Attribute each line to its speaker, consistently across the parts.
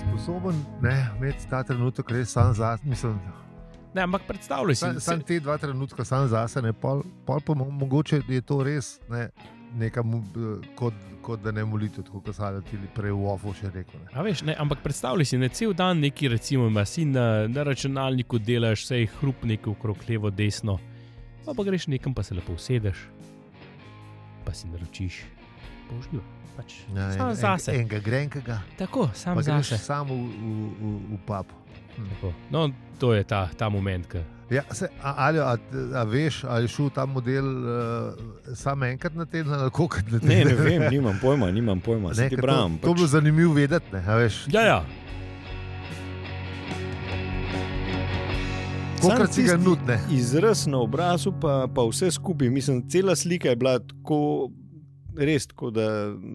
Speaker 1: sposoben ne, imeti ta trenutek res sam za sebe.
Speaker 2: Ne, ampak predstavljaj si,
Speaker 1: Sam, sam
Speaker 2: da
Speaker 1: te dva trenutka, sam za sebe, pol, pol pa mo- mogoče je to res ne, nekam, kot, kot da ne molite, tako kot sam ti prej v OFO še rekel. Ne.
Speaker 2: A veš, ne, ampak predstavljaj si, da cel dan neki, recimo, imaš si na, na računalniku, delaš vse hrupnike okrog levo, desno, pa, pa greš nekam, pa se lepo usedeš, pa si naročiš, požljiv. Pač,
Speaker 1: Ja,
Speaker 2: sam
Speaker 1: en-
Speaker 2: zase.
Speaker 1: en- Enega grenkega,
Speaker 2: Tako,
Speaker 1: pa
Speaker 2: sam
Speaker 1: greš
Speaker 2: zase.
Speaker 1: samo v, v, v, v papu.
Speaker 2: Tako. No, to je ta, ta moment, ki
Speaker 1: Ja, se, a, ali, a, a veš, ali je šel ta model uh, samo enkrat na teden, ali koliko na teden?
Speaker 3: Ne, ne vem, nimam pojma, nimam pojma.
Speaker 1: Ne,
Speaker 3: Ne,
Speaker 1: ker
Speaker 3: ti
Speaker 1: to,
Speaker 3: pač. pravim,
Speaker 1: to je bilo zanimivo vedeti. Ne, a veš,
Speaker 2: Ja, ja.
Speaker 1: Kolikor
Speaker 3: Sam
Speaker 1: si ga
Speaker 3: tisti
Speaker 1: nudne.
Speaker 3: Izraz na obrazu, pa, pa vse skupaj. Mislim, cela slika je bila tako res, tako da,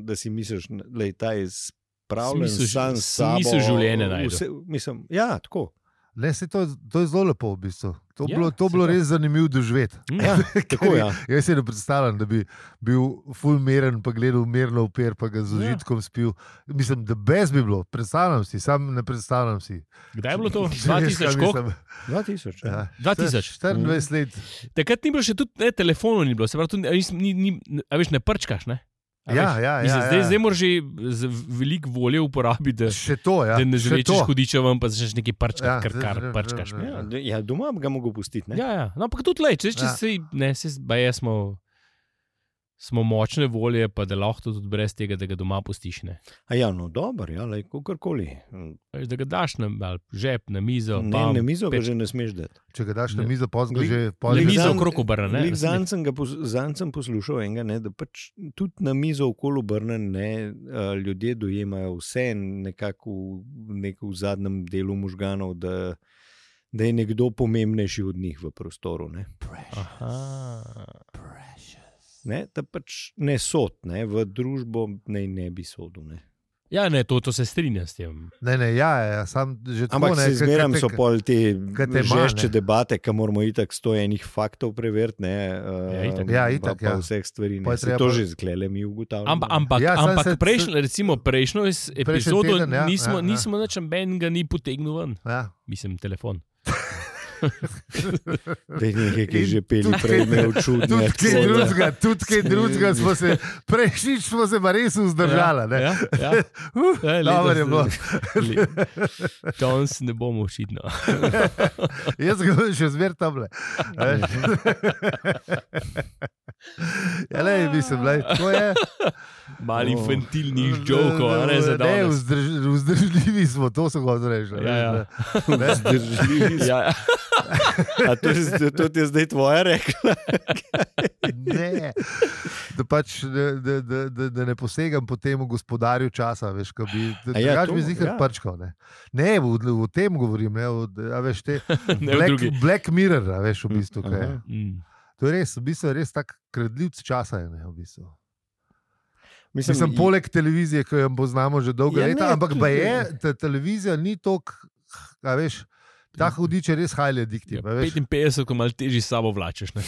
Speaker 3: da si misliš, da je ta izpravljen,
Speaker 2: Smisel ž-
Speaker 3: sam s sabo.
Speaker 2: smisel življenja najdu.
Speaker 3: Vse- Mislim, ja, tako.
Speaker 1: Ne, saj to, to je zelo lepo, v bistvu. To je
Speaker 2: Ja,
Speaker 1: ja, bilo, to
Speaker 2: saj
Speaker 1: bilo
Speaker 2: to.
Speaker 1: res zanimivo doživeti.
Speaker 2: Mm.
Speaker 3: Ja, tako ja.
Speaker 1: Jaz si ne predstavljam, da bi bil fulmeren, pa gledal mirno v per, pa ga z
Speaker 2: Ja.
Speaker 1: užitkom spil. Mislim, da brez bi bilo, predstavljam si, sam ne predstavljam si.
Speaker 2: Kdaj je bilo to?
Speaker 1: Če veš, kaj
Speaker 2: 2000, koliko?
Speaker 1: mislim.
Speaker 3: 2000.
Speaker 1: Ja.
Speaker 3: Ja.
Speaker 2: 2000.
Speaker 1: 24 let.
Speaker 2: Takrat ni bilo še tudi ne, telefonov, ni bilo, se pravi, tudi, a nis- ni, ni, a veš, ne prčkaš. Ne? A
Speaker 1: Ja, ja,
Speaker 2: veš?
Speaker 1: ja,
Speaker 2: Mislim, zdaj,
Speaker 1: ja.
Speaker 2: zdaj moraš že z veliko volje uporabiti, da,
Speaker 1: Še to, ja.
Speaker 2: da ne
Speaker 1: še
Speaker 2: zrečeš
Speaker 1: to.
Speaker 2: hudiča ven, pa začneš nekaj prčkati,
Speaker 1: Ja,
Speaker 2: ja, kar, kar
Speaker 1: zdaj- zdaj-
Speaker 2: prčkaš. Ne?
Speaker 3: Ja, d- ja, doma bi ga mogel pustiti. ne?
Speaker 2: Ja, ja. No, ampak tudi le, če, če
Speaker 1: Ja.
Speaker 2: ja. se, ne, se zbaje, smo, smo močne volje, pa da lahko to tudi brez tega, da ga doma pustiš. Ne?
Speaker 3: A ja, no, dobro, ja, lej, kakorkoli.
Speaker 2: Veš, Da ga daš na ali žep, na mizo.
Speaker 3: Ne,
Speaker 2: bam,
Speaker 3: ne mizo ga
Speaker 2: pet-
Speaker 3: že ne smeš dati.
Speaker 1: Če ga daš na
Speaker 2: Ja. Ne.
Speaker 1: mizo, pozno
Speaker 3: Glej-
Speaker 1: že
Speaker 2: Na
Speaker 1: pol. že-
Speaker 3: glej-
Speaker 2: mizo
Speaker 3: zanj-
Speaker 2: okrog obrne.
Speaker 3: Zanj sem, ga pos, zanj sem poslušal enega, ne, da pač tudi na mizo okolo obrnen, ne, a, ljudje dojemajo vse nekako v, neko v zadnjem delu možganov, da, da je nekdo pomembnejši od njih v prostoru. Ne.
Speaker 2: Aha.
Speaker 3: Ne, da pač ne sod, ne, v družbo ne, ne bi sodil. Ne.
Speaker 2: Ja, ne, to, to se strinjam s tem.
Speaker 1: Ne, ne, ja, ja, sam že tako
Speaker 3: Ampak
Speaker 1: ne,
Speaker 3: se
Speaker 1: ker- ker
Speaker 3: zmeraj
Speaker 1: te-
Speaker 3: so pol te
Speaker 1: kaj te ima,
Speaker 3: žešče
Speaker 1: ne.
Speaker 3: debate, ki moramo itak sto enih faktov preveriti. Ne,
Speaker 2: Ja, itak.
Speaker 3: eh,
Speaker 1: Ja,
Speaker 3: pa-
Speaker 1: itak,
Speaker 3: pa
Speaker 1: ja.
Speaker 3: Vseh stvari.
Speaker 1: Pol
Speaker 3: Ne,
Speaker 1: je
Speaker 3: Saj
Speaker 1: treba
Speaker 3: to
Speaker 1: pol-
Speaker 3: že zklele mi ugotavljamo.
Speaker 2: Ampak, ampak,
Speaker 1: Ja,
Speaker 2: ja,
Speaker 1: samo se-
Speaker 2: ampak prejšnjo, recimo, prejšnjo iz- epizodo
Speaker 1: teden, ja,
Speaker 2: nismo,
Speaker 1: ja, ja.
Speaker 2: nismo nič enega ni potegnil ven,
Speaker 1: Ja.
Speaker 2: mislim, telefon.
Speaker 3: Da je nekaj, ki je
Speaker 1: In
Speaker 3: že peli,
Speaker 1: tudi-
Speaker 3: prej imel
Speaker 1: Tudi
Speaker 3: čudne.
Speaker 1: kaj
Speaker 2: tako.
Speaker 1: drugega, tudi kaj drugega smo se, prejšnjič smo se pa res vzdržali. ne.
Speaker 2: Ja, ja.
Speaker 1: Uh,
Speaker 2: Ja,
Speaker 1: Dobro je bilo.
Speaker 2: letos- eh, le- Danes ne bomo očitno.
Speaker 1: Jaz ga imam še zmeraj tam le. Jele, mislim, Ja, lej, to je.
Speaker 2: Mali
Speaker 3: Oh.
Speaker 2: infantilnih žokov, a ne za
Speaker 1: No. Ne,
Speaker 2: danes.
Speaker 1: vzdrž- vzdržljivi smo, to so hotel reči.
Speaker 2: Ja, ja.
Speaker 1: Ne,
Speaker 3: Drži.
Speaker 2: Ja, ja.
Speaker 3: A to, je- to ti je zdaj tvoje rekla?
Speaker 1: ne. Da, pač, da, da, da, da, da ne posegam po tem gospodarju časa, veš, kaj bi.
Speaker 3: A
Speaker 1: Da,
Speaker 3: ja,
Speaker 1: ja,
Speaker 3: to,
Speaker 1: bi zihar
Speaker 3: ja.
Speaker 1: ja. prčkal. Ne, ne v, v tem govorim, ne, v, a veš, te,
Speaker 2: Ne v
Speaker 1: Black,
Speaker 2: drugi.
Speaker 1: Black Mirror, a veš, v bistvu. kaj je.
Speaker 3: aha.
Speaker 2: Mm.
Speaker 1: To je res, v bistvu je res tak kradljivc časa. Je, ne, v bistvu.
Speaker 3: Mislim,
Speaker 1: Mislim, poleg televizije, ki jo poznamo že dolgo
Speaker 3: Ja,
Speaker 1: leta,
Speaker 3: ne,
Speaker 1: ampak
Speaker 3: tudi-
Speaker 1: pa je, ta televizija ni tok, a veš, ta hudič je res hajle
Speaker 2: Ja,
Speaker 1: diktiv.
Speaker 2: 55, ko malo težje s sabo vlačeš. ne.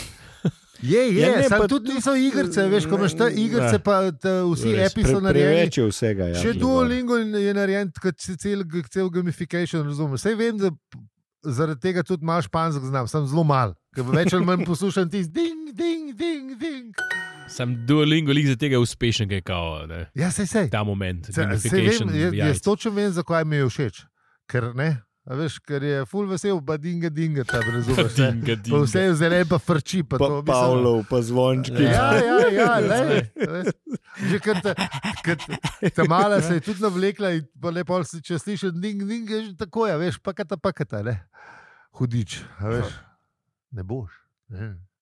Speaker 1: Je, je,
Speaker 3: Ja, ne,
Speaker 1: ja, ne,
Speaker 3: pa
Speaker 1: tudi niso igrice, veš, ko imaš te
Speaker 3: ne,
Speaker 1: igrice,
Speaker 3: ne.
Speaker 1: pa ta, vsi
Speaker 2: Res,
Speaker 1: epi so narejeni.
Speaker 3: preveč je vsega.
Speaker 1: Še
Speaker 3: Ja, že gor.
Speaker 1: Duolingo je narejen, kot si cel, cel gamification, razumem. Vse vem, da p- zaradi tega tudi malo španskega znam, sem zelo mal. Ker več ali manj poslušam tisti ding, ding, ding, ding.
Speaker 2: Sam Duolingo lik za tega uspešnega je kao, ne,
Speaker 1: Ja, sej, sej.
Speaker 2: ta moment.
Speaker 1: Se, se
Speaker 2: gamification ja,
Speaker 1: vem, jaz, jaz
Speaker 2: jajc.
Speaker 1: točno vem, zakaj mi je všeč. Ker, ne, a veš, ker je full vesel, pa dinga, dinga, tam razumeš. ne.
Speaker 2: Dinga,
Speaker 1: Pa
Speaker 2: dinga.
Speaker 1: vse je zelen, pa frči. Pa
Speaker 3: Pa
Speaker 1: to, mislim,
Speaker 3: Pavlov, pa zvončki.
Speaker 1: Ja, ja, ja, lej, veš, že kar ta, kar ta mala se je tudi navlekla in pa lepo, če slišiš, ding, ding, je že tako, ja, veš, pakata, pakata, ne. hudič, a veš,
Speaker 3: Ja.
Speaker 1: ne boš.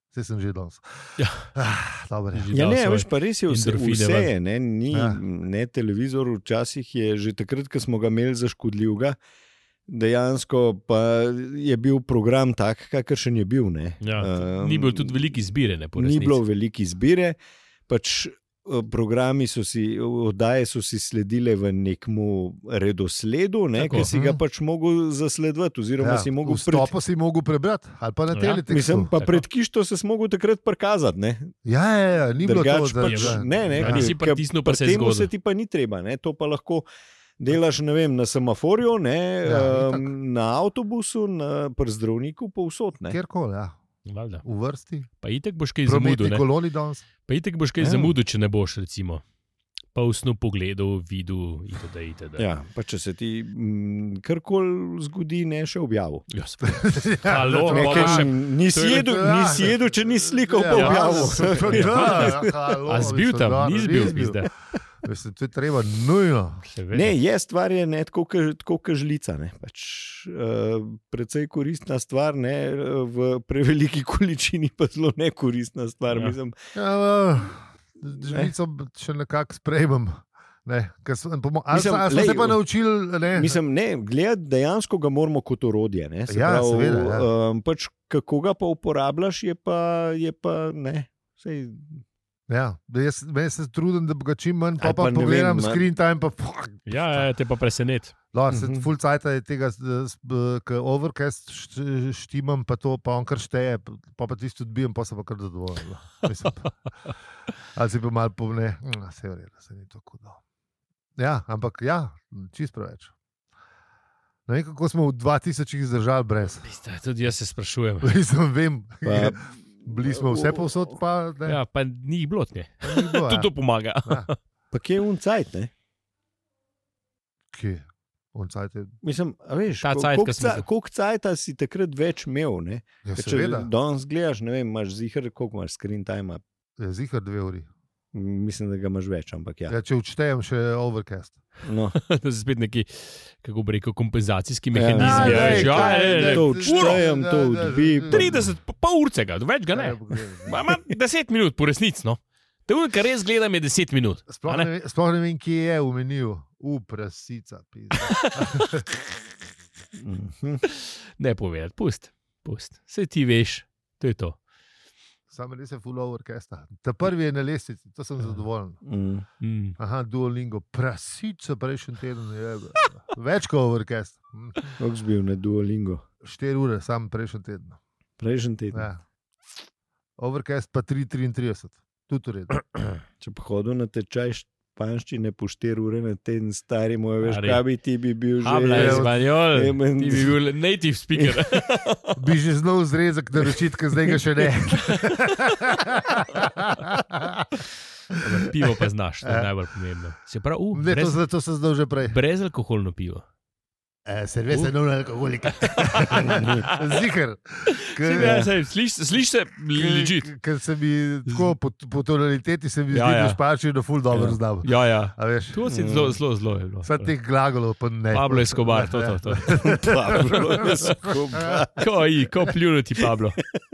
Speaker 1: Vse sem že danes.
Speaker 2: Ja.
Speaker 1: Ah, dobro je.
Speaker 2: Že
Speaker 3: Ja,
Speaker 2: dal
Speaker 3: ne,
Speaker 2: svoje.
Speaker 3: veš, pa res je vse,
Speaker 2: endorfine
Speaker 3: vse
Speaker 2: ven.
Speaker 3: je, ne, ni,
Speaker 1: Ja.
Speaker 3: ne televizor, včasih je že takrat, ko smo ga imeli za škodljivega, dejansko pa je bil program tak, kakršen je bil. Ne.
Speaker 2: Ja,
Speaker 3: Ehm,
Speaker 2: ni bilo tudi veliko izbire, ne po
Speaker 3: Ni
Speaker 2: resnici.
Speaker 3: bilo velike izbire, pač eh, programi so si, oddaje so si sledile v nekem redosledu, ne,
Speaker 2: Tako.
Speaker 3: ki si ga
Speaker 1: Mhm.
Speaker 3: pač mogel zasledovati, oziroma
Speaker 1: Ja,
Speaker 3: ja, si mogel pred-
Speaker 1: Vstopo si mogel prebrati, ali pa na
Speaker 2: Ja.
Speaker 1: teletekstu.
Speaker 3: Mislim, pa
Speaker 2: Tako.
Speaker 3: pred kišto se smo mogli takrat prikazati. ne.
Speaker 1: Ja, ja, ja ni bilo to,
Speaker 3: Drugač
Speaker 1: da
Speaker 3: pač,
Speaker 1: da-
Speaker 3: ne, ne,
Speaker 2: Ja,
Speaker 3: ki-
Speaker 2: nisi
Speaker 3: ki-
Speaker 2: pritisnil, pa
Speaker 3: pri
Speaker 2: se je
Speaker 3: tem
Speaker 2: zgodilo.
Speaker 3: se ti pa ni treba, ne? to pa lahko Delaš ne vem, na semaforju, ne,
Speaker 1: Ja,
Speaker 3: ja,
Speaker 1: itak.
Speaker 3: na avtobusu, na pri zdravniku, povsod. ne.
Speaker 1: Kjerkoli, ja.
Speaker 2: Valjda.
Speaker 1: v vrsti,
Speaker 2: Pa itek boš kaj
Speaker 1: v
Speaker 2: zamudil.
Speaker 1: prometni
Speaker 2: ne?
Speaker 1: koloni danes.
Speaker 2: Pa itek boš kaj
Speaker 3: Ja.
Speaker 2: zamudil, če ne boš, recimo. Pa v snu pogledal, videl, itd. itd.
Speaker 3: Ja, pa če se ti mm, karkoli zgodi, ne še objavi.
Speaker 2: Ja, seveda. Halo,
Speaker 1: to-
Speaker 2: Ne,
Speaker 3: Nekaj,
Speaker 2: pa-
Speaker 3: nisi,
Speaker 2: to je-
Speaker 3: jedel,
Speaker 1: Ja.
Speaker 3: nisi jedel, če nisi slikal, pa
Speaker 1: Ja,
Speaker 3: objavil.
Speaker 1: super, ja, halo,
Speaker 2: A zbil
Speaker 1: mislim,
Speaker 2: tam,
Speaker 1: da,
Speaker 2: ni
Speaker 1: ne,
Speaker 2: zbil, pizda.
Speaker 1: Mislim, to je treba nujno.
Speaker 2: Seveda.
Speaker 3: Ja. Ne, je stvar je ne tako, ke- tako kot žlica. Ne. Pač, uh, precej koristna stvar, ne, v preveliki količini pa zelo nekoristna stvar.
Speaker 2: Ja.
Speaker 3: Ja. Mislim,
Speaker 1: Ja, Žlico
Speaker 3: Eh.
Speaker 1: še nekako sprejemam. Ne, ker smo- pomo- ali
Speaker 3: Mislim,
Speaker 1: sta- ali smo se
Speaker 3: lej,
Speaker 1: pa naučili, ne,
Speaker 3: mislim, ne, gled, dejansko ga moramo kot orodje. Ne, Se
Speaker 1: Ja, seveda, ja.
Speaker 3: Um, pač, kako ga pa uporabljaš, je pa, je pa ne. Sej,
Speaker 1: ja, da jaz, meni se trudim, da bi ga čim manj, pa,
Speaker 3: Ali
Speaker 1: pa,
Speaker 3: pa
Speaker 1: pa
Speaker 3: ne
Speaker 1: pogledam
Speaker 3: vem,
Speaker 1: vem,
Speaker 3: ne.
Speaker 1: screen time. Pa, fuck,
Speaker 2: Ja, ja, te pa presenet.
Speaker 1: no, se
Speaker 3: Mhm.
Speaker 1: full cajt je tega, ki overcast št- štimam, pa to pa on kar šteje, pa pa tisto odbijem, pa sem pa kar zadovoljen. no. Mislim, Ali si pa malo mm, pomne, se je vredno, se ni to kudo. Ja, ampak ja, čist preveč. Ne vem, kako smo v 2000-ih zdržali brez.
Speaker 2: Pizda, tudi jaz se sprašujem.
Speaker 1: Mislim, vem,
Speaker 3: pa,
Speaker 1: bili smo vse povsod, pa ne. Ja,
Speaker 2: Ja, pa ni jih bilo, ne.
Speaker 1: ni bilo,
Speaker 2: Tudi
Speaker 1: ja.
Speaker 2: to pomaga.
Speaker 3: pa kje je uncajt? ne?
Speaker 1: Kje? On cajt je.
Speaker 3: Mislim, a veš,
Speaker 2: Ta
Speaker 3: ko-
Speaker 2: cajt,
Speaker 3: koliko
Speaker 2: ko smo
Speaker 3: ca-
Speaker 2: se-
Speaker 3: Koliko cajta si takrat več imel? Ne?
Speaker 1: Ja,
Speaker 3: Ker
Speaker 1: seveda,
Speaker 3: Če danes gledaš, ne vem, imaš zihar, koliko imaš screen time.
Speaker 1: je zihar dve uri.
Speaker 3: Mislim, da ga imaš več, ampak ja.
Speaker 1: Ja, če odštejem še overcast.
Speaker 3: No.
Speaker 2: To so spet neki, kako bi rekel, kompenzacijski
Speaker 1: Ja,
Speaker 2: mehanizmi.
Speaker 1: ja,
Speaker 2: Ja,
Speaker 1: lej,
Speaker 2: ja,
Speaker 1: kaj,
Speaker 2: ja,
Speaker 1: lej,
Speaker 2: ja.
Speaker 3: to
Speaker 1: da,
Speaker 3: odštejem,
Speaker 1: da,
Speaker 3: to
Speaker 1: da,
Speaker 3: odbi.
Speaker 1: da, da.
Speaker 2: 30, pa pol urce ga, več ga ja,
Speaker 1: Ja.
Speaker 2: ne. Ma, ma, 10 minut, po resnici. No. To je, kar res gledam, je 10 minut.
Speaker 1: Sploh
Speaker 2: A
Speaker 1: ne,
Speaker 2: ne?
Speaker 1: ve- sploh ne vem, kje je v meniju, uprasica.
Speaker 3: Mhm.
Speaker 2: Ne povedati, pust, pust. Vse ti veš, to je to.
Speaker 1: Sam res je full overcasta. Ta prvi je na lestvici, to
Speaker 3: Ja.
Speaker 1: sem zadovoljen.
Speaker 3: Mm.
Speaker 2: Mm.
Speaker 1: Aha, Duolingo, prasica prejšnji teden je be. več kot overcast. Hm,
Speaker 3: Kako si bil na Duolingo?
Speaker 1: Štiri ure, sam prejšnji teden.
Speaker 3: Prejšnji teden. Ja.
Speaker 1: Ja. Overcast pa 3,33, tudi v redu. Ja.
Speaker 3: Če bi hodil na tečaj španščine po 4 ure na teden, stari moj, veš,
Speaker 2: Stari.
Speaker 3: kaj bi ti bi bil že.
Speaker 2: Habla je
Speaker 1: je-
Speaker 2: španjol,
Speaker 3: je meni-
Speaker 2: ti bi bil native speaker.
Speaker 1: Bi že znal zrezek naročiti, ker zdaj ga še ne.
Speaker 2: Ampak Pivo pa znaš, to je
Speaker 1: Ja.
Speaker 2: najbolj pomembno. Se pravi, uh,
Speaker 1: ne to,
Speaker 2: brez,
Speaker 1: se- to sem znal že prej.
Speaker 2: brezalkoholno pivo.
Speaker 1: Eh, Servis je
Speaker 2: U.
Speaker 1: nov alkoholik. Zihar.
Speaker 2: Ja, saj, Sliš sliš se, ležit.
Speaker 1: Ker se mi tako po, po tonaliteti se mi ja,
Speaker 2: Ja,
Speaker 1: zdi,
Speaker 2: ja.
Speaker 1: da špači na full dobro
Speaker 3: Ja.
Speaker 1: ja. znam.
Speaker 2: Ja, ja.
Speaker 1: A veš,
Speaker 2: To si zelo, zelo, zelo je bilo.
Speaker 1: vsa teh glagolov pa ne.
Speaker 2: Pablo Escobar, to, to, to.
Speaker 3: Pablo
Speaker 1: Ja.
Speaker 3: Escobar.
Speaker 2: Ko, i, ko pljunuti Pablo.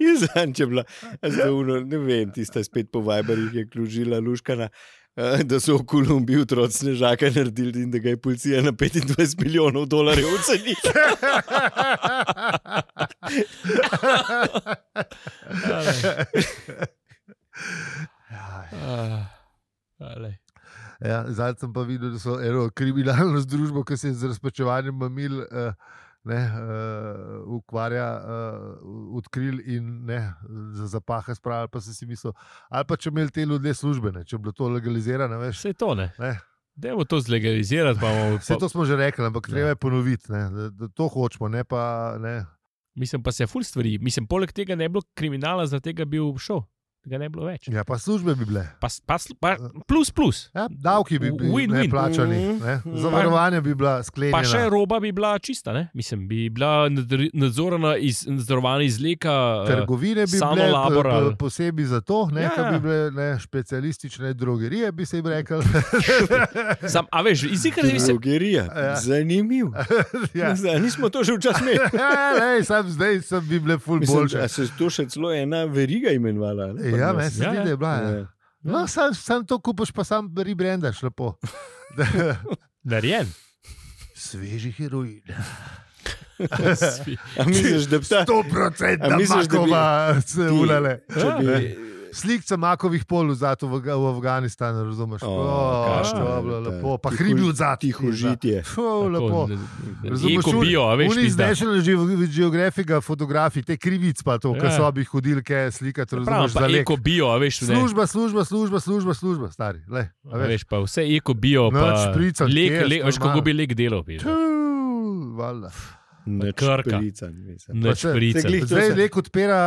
Speaker 3: Je zanj, če bila, zdaj uno, ne vem, tista spet po Viberjih je klužila Luškana. eh, Da so v Kolumbiji otroci snežaka naredili in da ga je policija na 25 milijonov dolarjev ocenila.
Speaker 1: Ja,
Speaker 2: Ah, alej.
Speaker 1: ja, Zdaj sem pa videl, da so eno kriminalno združbo, ki se z razpečevanjem mamil eh, ne, eh, ukvarja, eh, odkrili in ne, za zapahe spravili. Pa sem si mislil, ali pa če imeli te ljudje službene, če bi bilo to legalizirano, veš.
Speaker 2: Vse to ne.
Speaker 1: Ne.
Speaker 2: Dajmo to zlegalizirati, pa bomo
Speaker 1: Vse
Speaker 2: pa-
Speaker 1: to smo že rekli, ampak
Speaker 2: Ja.
Speaker 1: treba je ponoviti, ne, da, da to hočemo, ne pa. Ne.
Speaker 2: Mislim pa se ful stvari. Mislim, poleg tega ne bi bilo kriminala, zaradi tega bi bil šel. Ga ne bi bilo več.
Speaker 1: Ja, pa službe bi bile.
Speaker 2: Pa, s- pa, s- pa plus, plus.
Speaker 1: Ja, davki bi bili ne
Speaker 2: Win-win.
Speaker 1: plačani,
Speaker 3: Mhm.
Speaker 1: ne.
Speaker 3: Mhm.
Speaker 1: zavarovanje bi bila
Speaker 2: Pa še
Speaker 1: sklenjena.
Speaker 2: roba bi bila čista, ne? mislim, bi bila nadr- nadzorana iz, nadzorovana iz leka. eh,
Speaker 1: Trgovine bi
Speaker 2: samo
Speaker 1: bile
Speaker 2: labor
Speaker 1: p- p-
Speaker 2: ali-
Speaker 1: posebej za to, ne,
Speaker 2: Ja,
Speaker 1: ja.
Speaker 2: ja.
Speaker 1: bi bile ne, specialistične drogerije, bi se jim rekel.
Speaker 2: Sam, a veš, iz igre bi se.
Speaker 3: Drogerija,
Speaker 1: Ja.
Speaker 3: zanimivo.
Speaker 1: ja.
Speaker 3: Zdaj, nismo to že včasih imeli.
Speaker 1: Ja, lej, sam zdaj sem bi bile ful
Speaker 3: Mislim,
Speaker 1: boljše.
Speaker 3: da se je to še celo ena veriga imenovala. Ne?
Speaker 1: Ja, meni se
Speaker 2: Ja,
Speaker 1: zdi,
Speaker 2: ja.
Speaker 1: da je bila. Ja.
Speaker 3: Ja.
Speaker 1: No, sam, sam to kupiš, pa sam rebrandaš lepo.
Speaker 2: Narejen.
Speaker 1: Sveži heroin.
Speaker 3: A misliš, da bi
Speaker 2: Ja.
Speaker 3: ta,
Speaker 1: 100%
Speaker 3: A misliš, da bi-
Speaker 1: makova se
Speaker 3: ti-
Speaker 1: ulale.
Speaker 3: če bi
Speaker 1: slikca makovih polov zato v, Ga- v Afganistanu, razumeš?
Speaker 3: O,
Speaker 1: Oh, oh,
Speaker 2: kakšno
Speaker 1: to je bilo
Speaker 3: ta
Speaker 1: lepo, pa
Speaker 3: tiho-
Speaker 1: hribi od zadnjih.
Speaker 3: Tiho žitje.
Speaker 1: Lepo. Razumeš,
Speaker 2: Eko bio, a veš,
Speaker 1: Oni
Speaker 2: pizda.
Speaker 1: zdaj še ležijo geografika, fotografi, te krivic pa to,
Speaker 2: Ja.
Speaker 1: kar so bi hodilke, slikati,
Speaker 2: Pravno,
Speaker 1: razumeš,
Speaker 2: pa
Speaker 1: za lek.
Speaker 2: eko bio, a veš, ne.
Speaker 1: Služba, služba, služba, služba, služba, stari. Le, a
Speaker 2: A
Speaker 1: veš.
Speaker 2: veš, pa vse eko bio, pa
Speaker 1: Nič špricanj,
Speaker 2: lek,
Speaker 1: kje,
Speaker 2: lek, veš, kako
Speaker 1: normalno.
Speaker 2: bi lek delal, veš.
Speaker 1: Čuuu, valjda.
Speaker 2: krka. Ne
Speaker 1: Pa se-
Speaker 2: šprica.
Speaker 3: se glih- Glih to
Speaker 1: Zdaj
Speaker 3: sem.
Speaker 1: lek odpira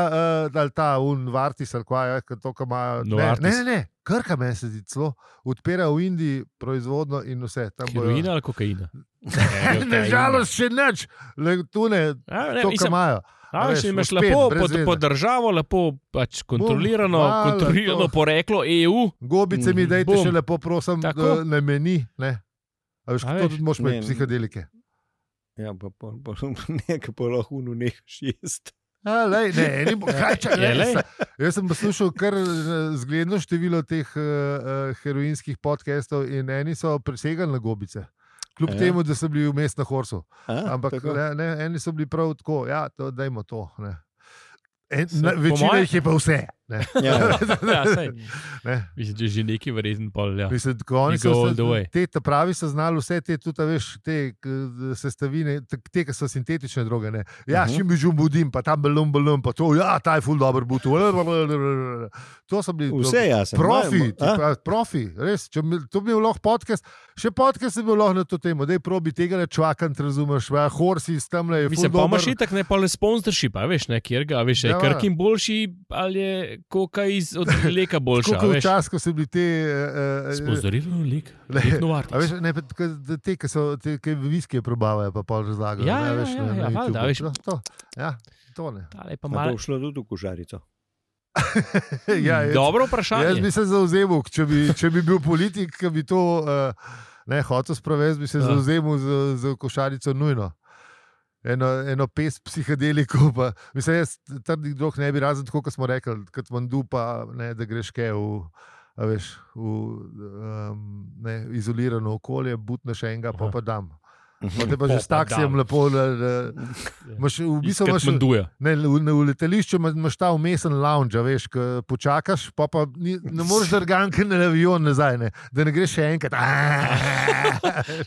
Speaker 1: uh, ali ta unvartis ali kaj, eh, ke to, kar ima. Ne, ne,
Speaker 2: Novartis.
Speaker 1: ne, ne, krka meni se zdi celo. Odpira v Indiji proizvodno in vse. tam bojo-
Speaker 2: Heroina Ja, ali kokaina?
Speaker 1: Nažalost, še nič, le tu ne,
Speaker 2: A, Ja, ne,
Speaker 1: to, kar
Speaker 2: mislim,
Speaker 1: imajo.
Speaker 2: A,
Speaker 1: A
Speaker 2: veš,
Speaker 1: veš,
Speaker 2: imaš
Speaker 1: uspem,
Speaker 2: lepo
Speaker 1: brez
Speaker 2: pod,
Speaker 1: veze.
Speaker 2: pod državo, lepo pač kontrolirano,
Speaker 1: Bum, hvala,
Speaker 2: kontrolirano
Speaker 1: to.
Speaker 2: poreklo E EU.
Speaker 1: Gobice mi
Speaker 3: Mhm.
Speaker 1: dajte
Speaker 2: Bom.
Speaker 1: še lepo, prosim,
Speaker 2: Tako.
Speaker 1: eh, na meni. Ne. A veš,
Speaker 2: A
Speaker 1: to
Speaker 2: veš?
Speaker 1: tudi moš
Speaker 3: Ne, ne.
Speaker 1: imeti psihodelike.
Speaker 3: Ja, pa pol, pol, nekaj pa lahko unu nehaš jesti.
Speaker 1: A, lej, ne, ne bo, kaj, čak,
Speaker 2: Ja,
Speaker 1: lej,
Speaker 2: lej.
Speaker 1: sa- jaz sem poslušal kar eh, zgledno število teh uh, heroinskih podkastov in eni so presegali na gobice. Kljub
Speaker 3: Ja.
Speaker 1: ja. temu, da so bili vmes na horsu.
Speaker 3: A,
Speaker 1: Ampak
Speaker 3: tako?
Speaker 1: ne, ne, eni so bili prav tako, da ja, to, dajmo to. ne. En,
Speaker 2: Se-
Speaker 1: na,
Speaker 2: po
Speaker 1: večina
Speaker 2: moje-
Speaker 1: jih je pa vse. Ne,
Speaker 3: Ja,
Speaker 2: Ja, saj.
Speaker 1: ne.
Speaker 2: Mislim, da je že neki verjeten pol. Ja.
Speaker 1: Mislim, tako oni
Speaker 2: You
Speaker 1: so
Speaker 2: go all
Speaker 1: vse-
Speaker 2: the way.
Speaker 1: Te ta pravi so znali vse te, tudi, a veš, te k, sestavine, te, te ki so sintetične droge. Ne. Ja, uh
Speaker 3: Mhm.
Speaker 1: -huh. čim bi žum budim, pa tam belum, belum, pa to, ja, ta je ful dobro butu. To so bili
Speaker 3: Vse jasno.
Speaker 1: Profi, ti pravi, profi, res. Če, mi- to bi bil lahko podcast, še podcast je bil lahko na to temo, da je probi tega rečvakant, razumeš, ja, horsi iz tam le.
Speaker 2: Mislim, pa imaš itak ne pa le sponsorship, a veš, ne kjer ga, a veš, je
Speaker 1: Ja,
Speaker 2: krkin boljši ali je koka iz od leka boljša. a
Speaker 1: Kot
Speaker 2: veš.
Speaker 1: včasih, ko so bili te. eh, eh,
Speaker 2: Sponzorilo lek,
Speaker 1: Le,
Speaker 2: lek
Speaker 1: A
Speaker 2: Novartis.
Speaker 1: veš, ne, pa tako, da te, ki so te, ki viskije probavajo, pa pol razlagajo.
Speaker 2: Ja,
Speaker 1: ne,
Speaker 2: ja,
Speaker 1: veš,
Speaker 2: ja,
Speaker 1: na- na
Speaker 2: ja,
Speaker 1: YouTubeu.
Speaker 2: valjda, a veš.
Speaker 1: No, to, ja, to ne.
Speaker 2: Tale pa
Speaker 3: Pa
Speaker 2: malo-
Speaker 3: bo šlo tudi v košarico.
Speaker 1: ja, jaz,
Speaker 2: Dobro
Speaker 1: jaz
Speaker 2: vprašanje.
Speaker 1: bi se zauzemal, če bi, če bi bil politik, ki bi to uh, ne hotel sprovesti, bi se
Speaker 2: Ja.
Speaker 1: ja. zauzemal za, za košarico nujno. Eno, eno pes psihedelikov, pa mislim, jaz trdih drog ne bi razen tako, kot smo rekli, kot mandu, pa ne, da greš kaj v. a Veš, v um, ne, izolirano okolje, butneš enega, pa
Speaker 2: Aha.
Speaker 1: pa dam. Pa te pa že
Speaker 2: Po-
Speaker 1: s taksijem
Speaker 2: dam.
Speaker 1: lepo. Le, le, Maš, v bistvu imaš
Speaker 2: Katmanduja.
Speaker 1: ne, v, ne, v letališču ima- imaš ta umesen lounge, a veš, ko počakaš, pa, pa ni, ne moreš drganke na avion nazaj, ne, da ne greš še enkrat. Aaaaaa.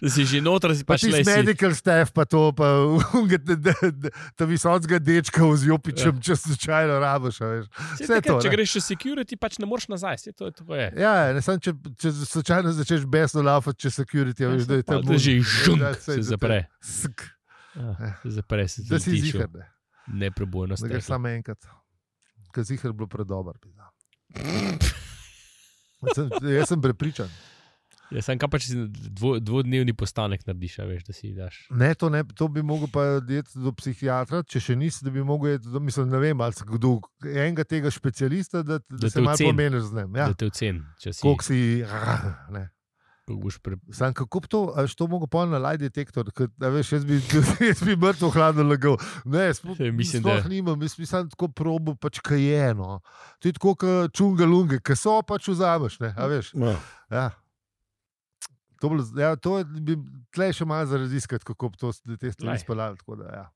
Speaker 2: Da si že noter, si
Speaker 1: Pa
Speaker 2: pač
Speaker 1: ti
Speaker 2: le
Speaker 1: si
Speaker 2: si.
Speaker 1: medical staff, pa to, pa unga te- de- de- ta visokega dečka z
Speaker 2: Ja.
Speaker 1: jopičem, če slučajno rabiš. a veš.
Speaker 2: Saj
Speaker 1: Vse
Speaker 2: takrat,
Speaker 1: to,
Speaker 2: Če
Speaker 1: ne.
Speaker 2: greš še security, pač ne moreš nazaj. saj To, je- to je.
Speaker 1: Ja, ne, samo če, če slučajno začneš besno lafati, če security, a Ja, veš, da je tam
Speaker 2: da že
Speaker 1: un-
Speaker 2: žunk
Speaker 1: Ja, saj, da
Speaker 2: se
Speaker 1: te-
Speaker 2: zapre.
Speaker 1: sk,
Speaker 2: Ja, se zapre se
Speaker 1: Da si
Speaker 2: zihar.
Speaker 1: zihar, ne,
Speaker 2: Neprebojno
Speaker 1: da greš
Speaker 2: steklo.
Speaker 1: samo enkrat. Ker zihar je bilo predober. bi dal. Jaz sem, jaz sem prepričan.
Speaker 2: Ja, sam kaj pa če si dvo, dvodnevni postanek narediš, a veš, da si daš.
Speaker 1: Ne, to, ne, to bi mogel pa iti do psihiatra, če še nisi, da bi mogel iti do mislim, ne vem, ali se kdo, enega tega specialista, da, da,
Speaker 2: Da
Speaker 1: da
Speaker 2: te
Speaker 1: se malo
Speaker 2: oceni.
Speaker 1: pomeniš z njim.
Speaker 2: Ja.
Speaker 1: Ja.
Speaker 2: Da te ocenim, če si.
Speaker 1: Koliko si. Ne.
Speaker 2: koliko boš Pre...
Speaker 1: Sam kako bi to, a veš, to mogo pa na laj detektor, ker, a veš, jaz bi, jaz bi mrtev hladno lagal. Ne, sploh,
Speaker 2: Ja, mislim,
Speaker 1: sploh
Speaker 2: da-
Speaker 1: nimam, jaz bi sam tako probo, pač kajeno. To je tako, kot čunga lunge, ki so pač vzameš, ne, a veš.
Speaker 3: No.
Speaker 1: Ja. To, bilo, z- ja, to je- bi tle še malo za raziskati, kako bi to, s- te
Speaker 2: Glej.
Speaker 1: stvari speljali. tako da, Ja.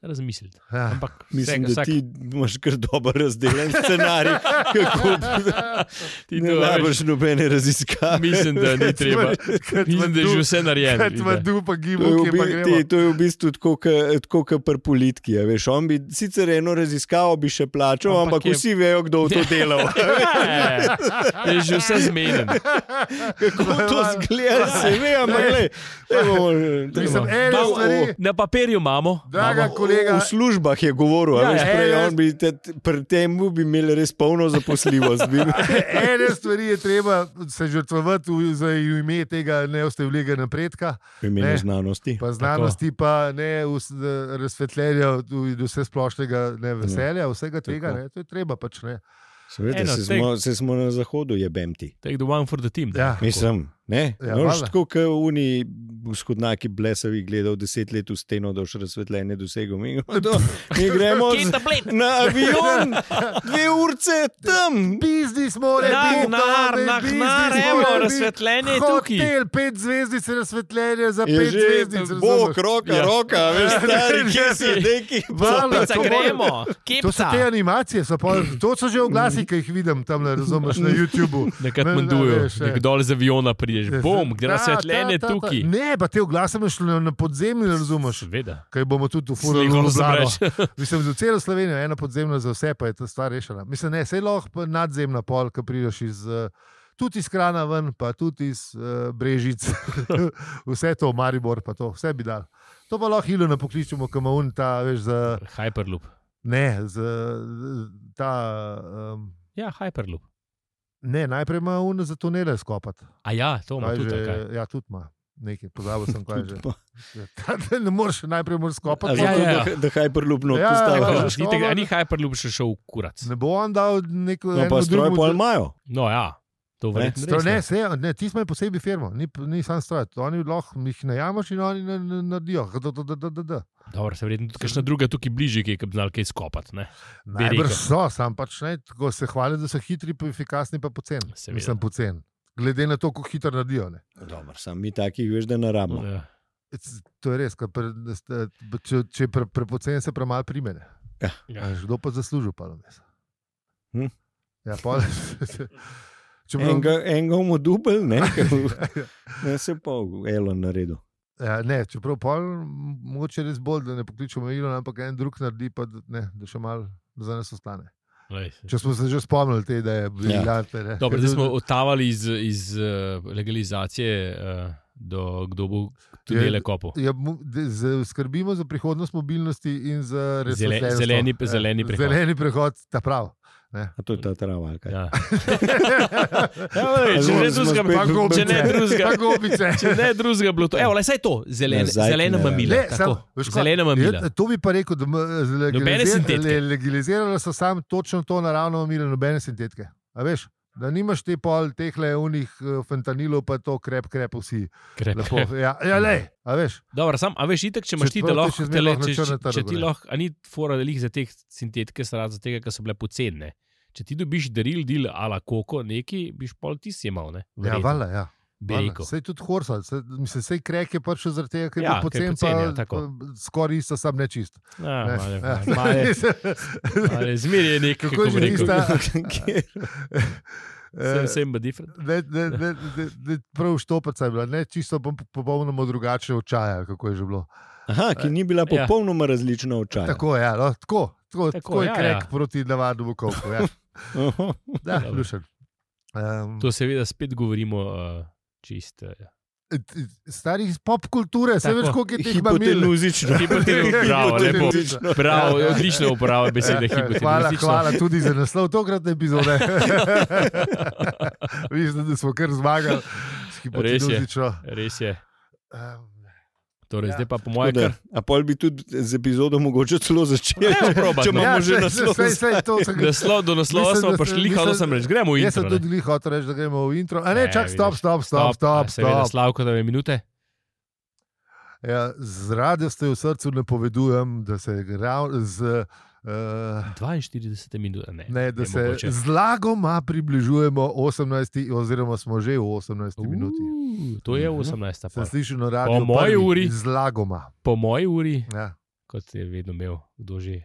Speaker 2: Razmisliti.
Speaker 1: Ja.
Speaker 2: Ampak
Speaker 3: Mislim,
Speaker 2: vsak,
Speaker 3: da ti imaš kar dober razdeljen scenarij, kako ti
Speaker 2: ti to
Speaker 3: ne
Speaker 2: rabiš.
Speaker 3: rabiš nobene raziskave.
Speaker 2: Mislim, da ni treba. Mislim, da je že vse narejeno.
Speaker 1: Kaj ima
Speaker 2: da.
Speaker 1: tu, pa
Speaker 3: To je,
Speaker 1: gibanje,
Speaker 3: v
Speaker 1: ki pa
Speaker 3: bi, ti,
Speaker 1: gre.
Speaker 3: to je v bistvu tako, ke- tako kot pri politiki. a Veš, on bi sicer eno raziskavo bi še plačal,
Speaker 2: Ampak
Speaker 3: ampak, ampak
Speaker 2: je-
Speaker 3: je... vsi vejo, kdo je to delal.
Speaker 2: Ja, je že vse zmenjen.
Speaker 3: Kako to zgleda, se ve, ampak le.
Speaker 1: Mislim, ene
Speaker 2: Da,
Speaker 1: stvari-
Speaker 2: Na papirju imamo.
Speaker 1: Draga
Speaker 2: imamo.
Speaker 1: kolega,
Speaker 3: V službah je govoril,
Speaker 2: Ja,
Speaker 3: ja, veš,
Speaker 2: ja.
Speaker 3: prej,
Speaker 1: Ene-
Speaker 3: on bi te, pri tem bi imeli res polno zaposljivost. bi imeli.
Speaker 1: ene stvari je treba se žrtvovati v- za ime tega neustevljega napredka,
Speaker 3: V imenu
Speaker 1: Ne.
Speaker 3: znanosti.
Speaker 1: pa znanosti, pa ne us- eh, razsvetljenja in vse splošnega ne,
Speaker 2: Ja.
Speaker 1: veselja, vsega tega.
Speaker 3: Tako.
Speaker 1: Ne, to je treba pač ne.
Speaker 3: Seveda,
Speaker 2: Eno,
Speaker 3: se
Speaker 2: teg-
Speaker 3: smo, se smo na zahodu, je bemti.
Speaker 2: Take the one for the team.
Speaker 1: Ja.
Speaker 2: Tako.
Speaker 3: Mislim, Ne,
Speaker 1: Ja,
Speaker 3: ja, no,
Speaker 1: valjda.
Speaker 3: tako kot oni vzhodnjaki blesavi gledal deset let v steno, da boš razsvetljenje dosegel. Mi, do, mi gremo
Speaker 2: Kje je
Speaker 3: z-
Speaker 2: tablet?
Speaker 3: na avion, dve urce tam.
Speaker 1: Biznis mora
Speaker 2: Nah,
Speaker 1: biti
Speaker 2: nah,
Speaker 1: dober,
Speaker 2: nah,
Speaker 1: biznis
Speaker 2: nah,
Speaker 1: mora
Speaker 2: evo,
Speaker 1: biti.
Speaker 2: razsvetljenje je tukaj.
Speaker 1: Hotel, pet zvezdic razsvetljenje za
Speaker 3: Je
Speaker 1: pet
Speaker 3: že
Speaker 1: zvezdic.
Speaker 3: bok,
Speaker 1: razumeš?
Speaker 3: roka,
Speaker 2: Ja.
Speaker 3: ja. roka, veš, stari,
Speaker 1: Ja,
Speaker 3: kje si,
Speaker 1: ja.
Speaker 3: neki.
Speaker 1: Valjda,
Speaker 2: Pica,
Speaker 1: to mora-
Speaker 2: gremo,
Speaker 1: To so
Speaker 2: kipca.
Speaker 1: te animacije, so pol, to so že
Speaker 2: Mhm.
Speaker 1: oglasi, ki jih vidim tam, razumeš, na YouTubu.
Speaker 2: Nekaj
Speaker 1: Ne, ne,
Speaker 2: mandujo,
Speaker 1: veš, ja.
Speaker 2: nekdo dol z aviona prideš, bom, gre
Speaker 1: Ta,
Speaker 2: razsvetljenje
Speaker 1: ta, ta, ta.
Speaker 2: tukaj.
Speaker 1: Ne, pa te oglase imaš na, na podzemlju, razumeš.
Speaker 2: Seveda.
Speaker 1: Kaj bomo tudi ufurili
Speaker 2: Sliko
Speaker 1: v
Speaker 2: sem
Speaker 1: Ljubljano.
Speaker 2: reč.
Speaker 1: Mislim, za celo Slovenijo je ena podzemna, za vse pa je ta stvar rešena. Mislim, ne, sej lahko pa nadzemna pol, ki prideš iz, eh, tudi iz Krana ven, pa tudi iz uh, Brežic, vse to, Maribor, pa to, vse bi dal. To pa lahko Ilona pokličemo, ki ima un ta, veš, za,
Speaker 2: Hyperloop.
Speaker 1: ne, za ta, um,
Speaker 2: Ja, Hyperloop.
Speaker 1: ne, najprej ima un za tunele skopati.
Speaker 2: A ja, to ima
Speaker 1: Kaj
Speaker 2: tudi.
Speaker 1: že-
Speaker 2: ali kaj?
Speaker 1: Ja, tudi ima. Nekaj, pozabil sem, kaj že.
Speaker 3: Pa-
Speaker 1: Ta- Ne moreš najprej moraš
Speaker 3: A
Speaker 1: skopati.
Speaker 2: Ja,
Speaker 1: pol-
Speaker 3: zato,
Speaker 2: ja, ja.
Speaker 3: da- Da hyperlupno
Speaker 1: Ja,
Speaker 2: Ja,
Speaker 1: ja,
Speaker 3: postaviš.
Speaker 1: ja.
Speaker 2: ni tega- a Ni Hyperloop še šel v kurac.
Speaker 1: Ne bo on dal neko.
Speaker 3: No,
Speaker 1: enemu
Speaker 3: pa stroj
Speaker 1: drugemu-
Speaker 3: pol imajo.
Speaker 2: No ja, to verjetno
Speaker 1: Stroj,
Speaker 2: res ne.
Speaker 1: ne, se, ne, ti smo posebej firma, ni, ni sam stroj. Oni lahko jih najamaš in oni na- na- naredijo. Da, da, da, da, da, da.
Speaker 2: Dobro, se verjetno tudi kakšna druga tukaj bližje, ki je znal kaj skopati. ne. Bi
Speaker 1: Najbrž
Speaker 2: rekel.
Speaker 1: so, sam pač ne. Tako se hvalijo, da so hitri, pa efikasni, pa poceni.
Speaker 2: Seveda.
Speaker 1: Mislim, poceni. Glede na to, kako hitro naredijo. Ne.
Speaker 3: Dobro, sam mi takih veš, da ne rabimo.
Speaker 2: Ja.
Speaker 1: C- To je res, ker pre, st- če, če pre, prepoceni se premalo primene.
Speaker 2: Ja.
Speaker 1: Ja. Kdo pa zasluži palo mesa?
Speaker 3: Hm.
Speaker 1: Ja, pol, če bomo
Speaker 3: Enega, enega mu dubl, ne, ker v- ne se pa Elon naredil.
Speaker 1: Ja, ne, čeprav pol, m, mogoče res bolj, da ne pokličemo Ilona, ampak en drug naredi, pa da, ne, da še malo za nas ostane.
Speaker 2: Lej, se-
Speaker 1: Če smo se že spomnili te ideje,
Speaker 3: Ja.
Speaker 1: ja. ne.
Speaker 2: Dobro, zdaj smo odtavali iz, iz eh, legalizacije, eh, do, kdo bo tudi
Speaker 1: Je-
Speaker 2: le kopal.
Speaker 1: Ja, mu- de- z- skrbimo za prihodnost mobilnosti in za
Speaker 2: Zele-
Speaker 1: resničnost.
Speaker 2: zeleni- zeleni prehod.
Speaker 1: Zeleni prehod, ta prav.
Speaker 3: A to je ta trava. ali kaj?
Speaker 2: Ja.
Speaker 3: če
Speaker 2: Če
Speaker 3: Zelo
Speaker 2: ne
Speaker 3: ne smo drugega, spet- pa
Speaker 2: drugega,
Speaker 3: gobice.
Speaker 2: če ne drugega.
Speaker 1: Pa gobice.
Speaker 2: Če ne drugega, bilo to. Evo, le, saj to, zelene,
Speaker 3: Nazaj ti
Speaker 2: zelena
Speaker 3: ne
Speaker 2: mamila.
Speaker 1: Ne,
Speaker 2: tako.
Speaker 1: samo, veš kaj,
Speaker 2: Zelena mamila.
Speaker 1: Je, to bi pa rekel, da eh,
Speaker 2: Nobene sintetike.
Speaker 1: je legaliziralo so sam točno to naravno omilje, nobene sintetike. A veš, da nimaš te pol teh le unih eh, fentanilov, pa to krep, krep vsi.
Speaker 2: Krep.
Speaker 1: Lepo, ja, ja lej, a veš.
Speaker 2: Dobro, sam, a veš, itak, če imaš
Speaker 1: Če
Speaker 2: ti, da
Speaker 1: prav, te
Speaker 2: lahko,
Speaker 1: še
Speaker 2: tele,
Speaker 1: zmeraj lahko
Speaker 2: če,
Speaker 1: na
Speaker 2: če,
Speaker 1: črnem
Speaker 2: če
Speaker 1: trgu,
Speaker 2: ti
Speaker 1: ne.
Speaker 2: lahko, a ni fora delih za te sintetike, srad za tega, ker so bile pocene. Če ti dobiš daril, del ala koko, neki, biš pol ti si imel, ne?
Speaker 1: Ja, vala, ja.
Speaker 2: Bejko.
Speaker 1: Sej tudi horsal, sej, mislim, sej krek je prišel zaradi tega, ker je
Speaker 2: Ja,
Speaker 1: bil
Speaker 2: ker je
Speaker 1: pocen,
Speaker 2: pocen, ja,
Speaker 1: pa,
Speaker 2: tako.
Speaker 1: pa skoraj isto, sam nečist. Ne, ja.
Speaker 2: Zmeraj je nek,
Speaker 1: Kako
Speaker 2: kako
Speaker 1: že
Speaker 2: bi rekel.
Speaker 1: tista- eh,
Speaker 3: Kjer-
Speaker 2: Sem, sem, but different.
Speaker 1: Ne, ne, ne, ne, ne, prav štopica je bila, ne čisto pom- popolnoma drugače od čaja, kako je že bilo.
Speaker 3: Aha, ki ni bila
Speaker 2: Ja.
Speaker 3: popolnoma različna od čaja.
Speaker 1: Tako, ja, no, tako, tako,
Speaker 2: Tako,
Speaker 1: tako, tako je
Speaker 2: ja,
Speaker 1: ja, krek
Speaker 2: ja.
Speaker 1: ja. proti navadnemu koku. Ja,
Speaker 3: Aha.
Speaker 1: da,
Speaker 2: Dobro.
Speaker 1: lušen. Um,
Speaker 2: To seveda spet govorimo uh, čisto. Uh,
Speaker 1: eh, starih pop kulture, se
Speaker 2: Tako.
Speaker 1: veš, koliko je teh mamil.
Speaker 3: Hipotenuzično.
Speaker 2: Hipotenuzično, bravo, lepo.
Speaker 3: Hipotenuzično.
Speaker 2: Prav, odlično uporaba besede hipotetizem.
Speaker 1: Eh, Hvala, hvala tudi za naslov tokratne epizode. Mislim, da smo kar zmagali s hipotenuzično.
Speaker 2: Res je.
Speaker 1: Um,
Speaker 2: Torej, ja.
Speaker 1: Ja.
Speaker 2: Zdaj pa po
Speaker 3: Tako
Speaker 2: mojem,
Speaker 3: da,
Speaker 2: kar
Speaker 3: A pol bi tudi z epizodo mogoče celo začeli.
Speaker 2: Evo, probat,
Speaker 3: če
Speaker 2: no.
Speaker 3: imamo že
Speaker 1: ja, saj-
Speaker 3: naslov.
Speaker 1: saj- saj, to sem ga-
Speaker 2: naslov do naslova
Speaker 1: Mislim,
Speaker 2: smo
Speaker 1: da se-
Speaker 2: prišli,
Speaker 1: mislim,
Speaker 2: hotel sem reči, gremo v
Speaker 1: Jaz sem
Speaker 2: intro.
Speaker 1: tudi glih hotel reči, da gremo v intro. A
Speaker 2: Ne,
Speaker 1: ne, čak, stop,
Speaker 2: vidiš.
Speaker 1: stop, stop, stop.
Speaker 2: Seveda,
Speaker 1: stop.
Speaker 2: Slavko, da je minute.
Speaker 1: Ja, z radostjo v srcu napovedujem, da se, rav, z, uh,
Speaker 2: 42 minut, ne.
Speaker 1: ne, da se
Speaker 2: mogoče.
Speaker 1: z lagoma približujemo 18, oziroma smo že v 18 uh. minuti. Mhm.
Speaker 2: Uuu, To je 18.
Speaker 1: Sem
Speaker 2: pol.
Speaker 1: slišal na radiju.
Speaker 2: moji
Speaker 1: prvi,
Speaker 2: uri.
Speaker 1: Z lagoma.
Speaker 2: Po moji uri,
Speaker 1: Ja.
Speaker 2: kot je vedno imel, kdo že.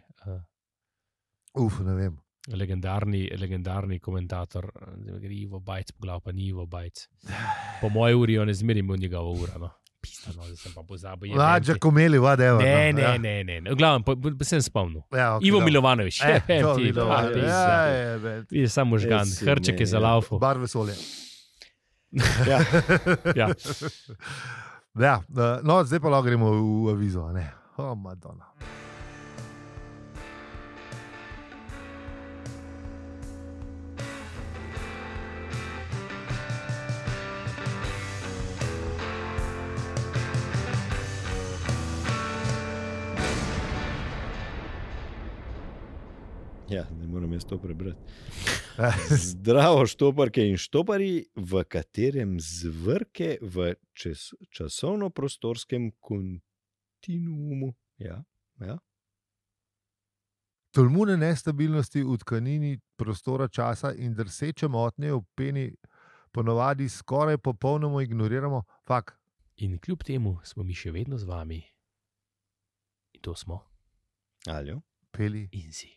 Speaker 2: Uh,
Speaker 1: Uf, ne vem.
Speaker 2: legendarni, legendarni komentator, zdaj gre Ivo Bajc, poglav pa ni Ivo Bajc. Po moji uri on je zmerim v njegovo uro. No. Pista, no, zdaj sem pa pozabil. jebem
Speaker 1: Ja,
Speaker 2: ti.
Speaker 1: Giacomelli, vadeva.
Speaker 2: Ne,
Speaker 1: no,
Speaker 2: ne,
Speaker 1: ja.
Speaker 2: ne, ne, ne. Glavno, pa, pa, pa sem spomnil.
Speaker 1: Ja, okay,
Speaker 2: Ivo
Speaker 1: dobro.
Speaker 2: Milovanovič,
Speaker 1: Eh,
Speaker 2: še
Speaker 1: to
Speaker 2: ti,
Speaker 1: Milovanovič, ja, je, bet.
Speaker 2: Vidiš samo žgan,
Speaker 3: Res je,
Speaker 2: hrček je
Speaker 3: ne,
Speaker 2: za
Speaker 3: ja.
Speaker 2: laufu.
Speaker 1: Barve solje.
Speaker 3: Ja.
Speaker 2: Ja.
Speaker 1: Ja, eh, no, zdaj pa lahko gremo v avizo. a ne? O, oh, Madonna.
Speaker 3: Ja, ne morem jaz to prebrati. Zdravo, štoparke in štoparji, v katerem zvrke v čas, časovno-prostorskem kontinuumu. Ja, ja.
Speaker 1: Tolmune nestabilnosti v tkanini prostora, časa in drseče motnje v peni ponavadi skoraj popolnoma ignoriramo. Fak,
Speaker 2: In kljub temu smo mi še vedno z vami. In to smo,
Speaker 3: Aljo.
Speaker 1: peli.
Speaker 2: in si.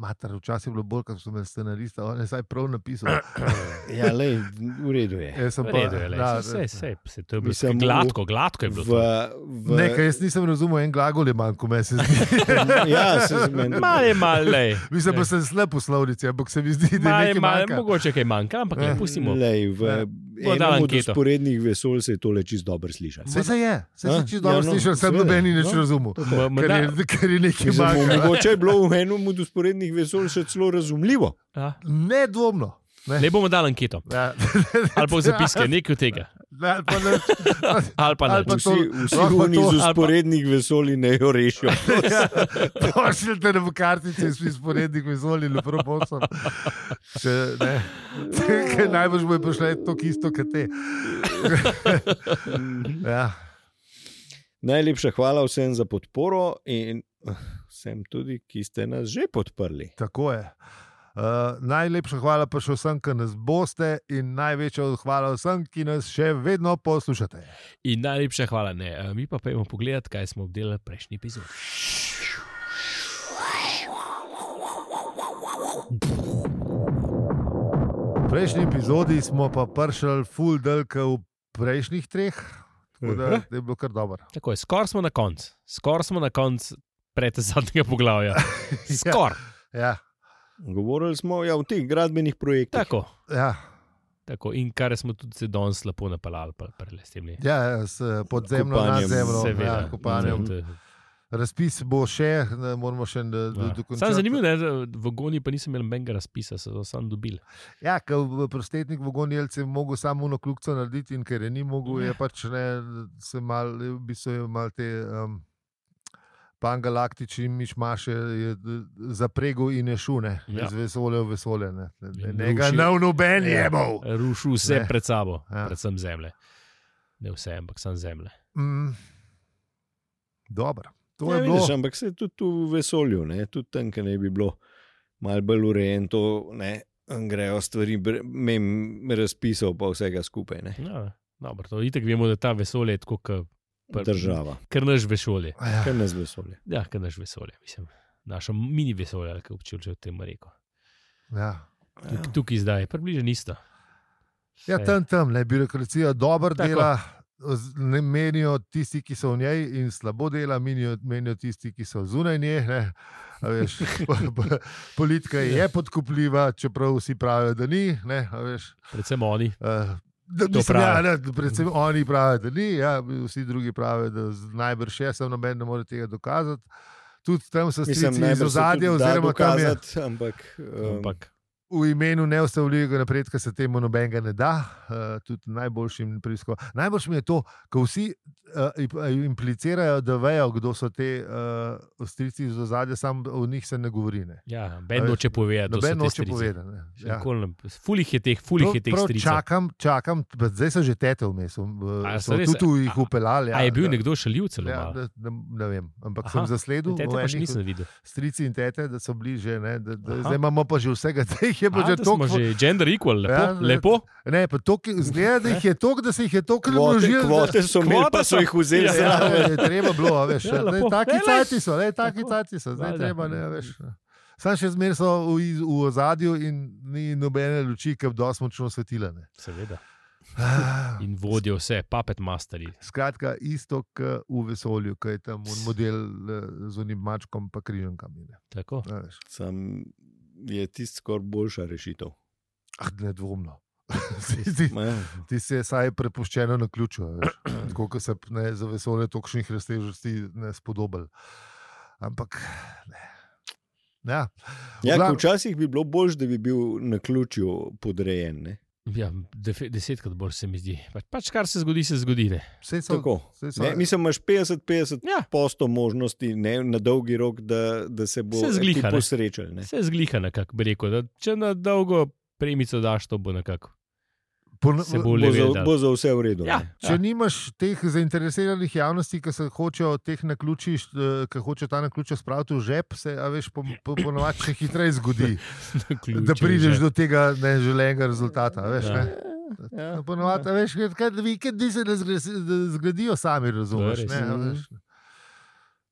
Speaker 1: Mater, včasih je bilo bolj, kot so imeli scenarista, on je saj prav napisal.
Speaker 3: Ja, lej, v redu je.
Speaker 1: Jaz sem pa
Speaker 2: Redo, vse, vse, vse, to je bilo
Speaker 3: Mislim,
Speaker 2: Mislim, gladko, gladko je bilo.
Speaker 3: V,
Speaker 2: V...
Speaker 3: v,
Speaker 1: Nekaj, jaz nisem razumel, en glagol je manj, ko me se zdi.
Speaker 3: ja, se zmeni.
Speaker 2: Male, male,
Speaker 1: Mislim, da sem slab v slovnici, ampak se mi zdi, da je
Speaker 2: male,
Speaker 1: nekaj
Speaker 2: male,
Speaker 1: manjka.
Speaker 2: mogoče kaj manjka, ampak ne
Speaker 1: Eh,
Speaker 2: pustimo.
Speaker 3: Lej, v
Speaker 1: Ja.
Speaker 2: Bo dala
Speaker 3: enem od
Speaker 2: anketo.
Speaker 3: usporednih vesolj se je tole čist dobro slišalo.
Speaker 1: Vse se je, vse
Speaker 3: A?
Speaker 1: se čisto dobro
Speaker 3: Ja, no,
Speaker 1: slišal, sem
Speaker 3: seveda,
Speaker 1: noben in nič
Speaker 3: no.
Speaker 1: razumel.
Speaker 2: M-
Speaker 1: Ker
Speaker 2: morda-
Speaker 1: je, ker je nekaj
Speaker 3: Mislim, mo-
Speaker 1: manjka.
Speaker 3: Mogoče je bilo v enem od usporednih vesolj še celo razumljivo.
Speaker 2: A?
Speaker 1: Nedvomno.
Speaker 2: Ne bomo dali anketo,
Speaker 1: Ja,
Speaker 2: ali pa zapiske, nekaj od tega,
Speaker 1: ali pa ne,
Speaker 2: ali pa
Speaker 1: Ali
Speaker 2: ne.
Speaker 1: pa
Speaker 3: Vsi,
Speaker 1: to-
Speaker 3: vsi
Speaker 1: lahko
Speaker 3: oni
Speaker 1: to-
Speaker 3: iz
Speaker 1: ali
Speaker 2: pa-
Speaker 3: usporednih vesolj ne jo rešijo.
Speaker 1: ja, pošljite nam kartice, jaz sem sporednik, izvolil, proposam. Če ne, ker najbrž bo je prišlo to isto, kot te. Ja,
Speaker 3: Najlepša hvala vsem za podporo in eh, vsem tudi, ki ste nas že podprli.
Speaker 1: tako je. Uh, najlepša hvala pa še vsem, ki nas boste, in največja hvala vsem, ki nas še vedno poslušate.
Speaker 2: In najlepša hvala, ne. Eh, Mi pa pojmo pogledat, kaj smo obdelali prejšnji epizod.
Speaker 1: V prejšnji epizodi smo pa pršali full delk v prejšnjih treh, tako da,
Speaker 3: Aha.
Speaker 1: da je bilo kar dobro.
Speaker 2: Tako je, skoraj smo na koncu, skoraj smo na koncu pred zadnjega poglavja. Skoraj,
Speaker 1: Ja,
Speaker 3: Govorili smo ja, o teh gradbenih projektih.
Speaker 2: tako.
Speaker 1: ja,
Speaker 2: Tako, in kar smo tudi se danes lepo napeljali, pa prelestili.
Speaker 1: ja, s podzemno,
Speaker 3: Kopanjem,
Speaker 1: nadzemno, ja, kopanjem.
Speaker 2: Seveda.
Speaker 1: Razpis bo še, ne, moramo še do- do-
Speaker 2: Ja. Samo
Speaker 1: dokončati.
Speaker 2: zanimivo je, da v Goni pa nisem imel menga razpisa, so ga sam dobil.
Speaker 1: Ja, ker v- prostetnik Vogonjelce je mogel samo eno kljukco narediti in ker je ni mogel,
Speaker 2: Ja.
Speaker 1: je pač ne, se mal, v bistvu je mal te um, pangalaktični mišmaše je d- zapregel in je šune,
Speaker 2: Ja.
Speaker 1: ja. iz vesolja v vesolje. Ne, ne, ne,
Speaker 2: In
Speaker 1: ne ga
Speaker 2: rušil.
Speaker 1: nav noben
Speaker 2: Ja.
Speaker 1: jebal.
Speaker 2: Rušil vse ne.
Speaker 1: Ne.
Speaker 2: pred sabo, ja.
Speaker 1: Ja.
Speaker 2: predvsem zemlje. Ne vse, ampak samo zemlje.
Speaker 1: Mm. Dobro, to
Speaker 3: ja,
Speaker 1: je bilo.
Speaker 3: vidiš, ampak se tudi v vesolju, ne, tudi tam, kjer ne bi bilo malo bolj urejeno, to ne. Grejo stvari, mem razpisov, pa vsega skupaj.
Speaker 1: Hm,
Speaker 3: Ne.
Speaker 2: Ja, dobro, to itek vemo, da ta vesolje je tako, kot
Speaker 3: Država,
Speaker 2: naš vesolje.
Speaker 1: Ja.
Speaker 3: kar nas vesolje.
Speaker 2: Ja, kot naš vesolje, mislim. Naša mini vesolje, ali kako bi če o tem rekel.
Speaker 1: Ja.
Speaker 3: Ja.
Speaker 2: Tuk, tukaj zdaj je približno isto.
Speaker 1: Ja,
Speaker 2: Saj.
Speaker 1: tam, tam, ne, birokracija dobro
Speaker 2: Tako.
Speaker 1: dela, z- ne menijo tisti, ki so v njej, in slabo dela, menijo, menijo tisti, ki so zunaj nje. Ne. A Veš, po, po, politika
Speaker 2: Ja.
Speaker 1: je podkupljiva, čeprav vsi pravijo, da ni. Ne, a veš,
Speaker 2: Predvsem oni.
Speaker 1: eh, Da, mislim, ja,
Speaker 2: pravijo.
Speaker 1: ne, da predvsem oni pravijo, da ni, ja, vsi drugi pravijo, da z- najbrž je, sem noben ne more tega dokazati. Tudi tam so
Speaker 3: Mislim,
Speaker 1: strici
Speaker 3: najbrž
Speaker 1: iz
Speaker 3: se
Speaker 1: ozadja,
Speaker 3: tudi da
Speaker 1: oziroma tam je
Speaker 3: dokazati, Ampak, um,
Speaker 2: Ampak,
Speaker 1: v imenu neustavljivega napredka se temu nobenega ne da, eh, tudi najboljšim preiskovalom. Najbolj mi je to, ko vsi eh, ip- implicirajo, da vejo, kdo so te eh, ostrici iz ozadja, sam o njih se ne govori. Ne.
Speaker 2: ja, Ben
Speaker 1: A veš,
Speaker 2: noče povedati, da so
Speaker 1: Noben
Speaker 2: ti
Speaker 1: noče
Speaker 2: strici.
Speaker 1: povedati. ne.
Speaker 2: Še nikoli ne- Fulih je teh, fulih
Speaker 1: Prav-
Speaker 2: je teh
Speaker 1: Ja. prav
Speaker 2: stricov.
Speaker 1: Čakam, čakam, pa zdaj so že tete vmes,
Speaker 2: A, so res?
Speaker 1: tudi jih
Speaker 2: A-
Speaker 1: upeljali.
Speaker 2: Ja,
Speaker 1: ja,
Speaker 2: a je bil
Speaker 1: da-
Speaker 2: nekdo šaljiv celo?
Speaker 1: Ja,
Speaker 2: Ja,
Speaker 1: ne, ne, ne vem, ampak
Speaker 2: Aha,
Speaker 1: Aha, sem zasledil,
Speaker 2: Tete
Speaker 1: v
Speaker 2: pa
Speaker 1: enih-
Speaker 2: še pač nisem videl.
Speaker 1: strici in tete, da so bili že, ne, da, da,
Speaker 2: Aha.
Speaker 1: zdaj imamo pa že vsega, da jih je
Speaker 2: A,
Speaker 1: pa
Speaker 2: da
Speaker 1: že
Speaker 2: smo
Speaker 1: toliko.
Speaker 2: že gender equal, lepo.
Speaker 1: Ja,
Speaker 2: Ja,
Speaker 1: ne.
Speaker 2: lepo.
Speaker 1: Ne, pa to, ki zgleda, da jih je toliko, da se jih je toliko
Speaker 3: Kvote,
Speaker 1: namnožilo. da-
Speaker 3: kvote so imeli,
Speaker 2: Kvote
Speaker 3: pa
Speaker 2: so-
Speaker 3: so jih vzeli
Speaker 2: Ja,
Speaker 1: Ja,
Speaker 3: ja,
Speaker 1: ja,
Speaker 3: zraven.
Speaker 1: je treba bilo, a veš.
Speaker 2: Ja,
Speaker 1: Ja,
Speaker 2: lepo.
Speaker 1: taki
Speaker 2: Ej, lej.
Speaker 1: cajti so, lej, taki
Speaker 2: Tako.
Speaker 1: cajti so, zdaj
Speaker 2: Valjda.
Speaker 1: treba, ne, veš. Sam še zmeraj so v, iz- v ozadju in ni nobene luči, ki bi dosti močno osvetila. ne.
Speaker 2: Seveda. In vodijo vse, papet masteri.
Speaker 1: Skratka, isto kot v vesolju, ki je tam un model eh, z unim mačkom pa križankom. Ne,
Speaker 2: Tako.
Speaker 1: A veš.
Speaker 3: Sam je tisti skoraj boljša rešitev.
Speaker 1: ah, nedvomno. Ti- ti-
Speaker 3: Ma, ja.
Speaker 1: Ti si je saj prepuščeno na ključu, a veš. tako kot se ne, za vesolje tokšnih razsežnosti ne spodobil. Ampak. Ne. Ja.
Speaker 3: Ja,
Speaker 1: Vglav-
Speaker 3: ko včasih bi bilo bolj, da bi bil na ključju podrejen. Ne?
Speaker 2: Ja, defe- desetkrat bolj se mi zdi. Pač, pač kar se zgodi, se zgodi. Ne?
Speaker 1: Vse so
Speaker 3: Tako.
Speaker 1: saj so- eh,
Speaker 3: Ne, mislim, imaš 50-50
Speaker 2: Ja,
Speaker 3: posto možnosti ne, na dolgi rok, da, da se bo
Speaker 2: Se zgliha, ne.
Speaker 3: posrečil. Ne.
Speaker 2: se zgliha nekako, bi rekel. Da, če na dolgo premico daš, to bo nekako.
Speaker 1: Pon-
Speaker 2: se bo
Speaker 3: Bo
Speaker 2: Bolje
Speaker 3: za,
Speaker 2: vedel.
Speaker 3: bo za vse v redu.
Speaker 2: Ja,
Speaker 3: ne.
Speaker 1: Če nimaš teh zainteresiranih javnosti, ki se hočejo teh na ključi, ki hočejo ta na ključ spraviti v žep, se a veš, po- po- ponovadi še hitreje zgodi,
Speaker 2: na ključe,
Speaker 1: da prideš
Speaker 2: že.
Speaker 1: do tega neželenega rezultata. a Veš,
Speaker 2: Ja.
Speaker 1: ne?
Speaker 3: Ja.
Speaker 1: Ponovadi, a veš, kaj vikendi se ne zgre- da zgradijo sami, razumeš?
Speaker 2: To je res.
Speaker 1: Ne, a veš.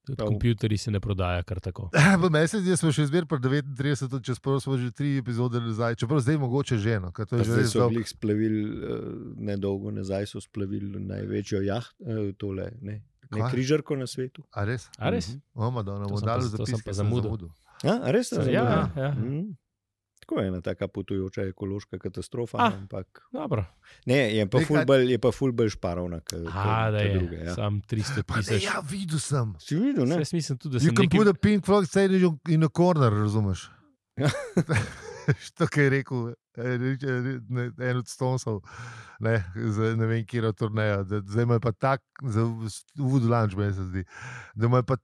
Speaker 2: Tudi
Speaker 3: Prav.
Speaker 2: kompjuterji se ne prodaja kar tako.
Speaker 1: V mesecu smo še zmeraj pri 39, čeprav smo že tri epizode nazaj, čeprav zdaj mogoče že eno, ker to je že
Speaker 3: Zdaj
Speaker 1: res
Speaker 3: so
Speaker 1: dolgo.
Speaker 3: jih splavili, eh, nedolgo nazaj so splavili največjo jaht, eh, tole, ne, ne
Speaker 1: Kva?
Speaker 3: križarko na svetu.
Speaker 1: A res?
Speaker 2: A res?
Speaker 3: Mhm.
Speaker 1: O, Madonna,
Speaker 2: To
Speaker 1: bom
Speaker 2: sem pa-
Speaker 1: dal
Speaker 2: to sem
Speaker 1: zapis,
Speaker 2: pa
Speaker 1: ker sem
Speaker 2: zamudil.
Speaker 3: A, a res?
Speaker 2: Ja,
Speaker 3: sem
Speaker 2: ja,
Speaker 3: zamudil?
Speaker 2: ja.
Speaker 3: Mm. Tako je ena taka potujoča ekološka katastrofa,
Speaker 2: Ah.
Speaker 3: ampak
Speaker 2: Dobro.
Speaker 3: ne, je pa
Speaker 1: Nekaj-
Speaker 3: fulbol, je pa fulbol šparovna. ke- ke-
Speaker 2: A, da
Speaker 3: ke
Speaker 2: je.
Speaker 3: druge, ja.
Speaker 2: Sam 300
Speaker 1: Pa ne,
Speaker 2: tisoč.
Speaker 1: ja, videl sem.
Speaker 3: Si videl, ne?
Speaker 2: Jaz mislim tudi, da
Speaker 1: You
Speaker 2: sem
Speaker 1: can
Speaker 2: nekaj
Speaker 1: put a pink frog sandwich on- in a corner, razumeš?
Speaker 3: Ja.
Speaker 1: Što kaj je rekel eh, Rich- eh, Ri- ne, en od Stonesov, ne, za ne vem, kje je turneja. da Zdaj ima pa tak, za Wood Lunch, meni se zdi. Da mu je pa,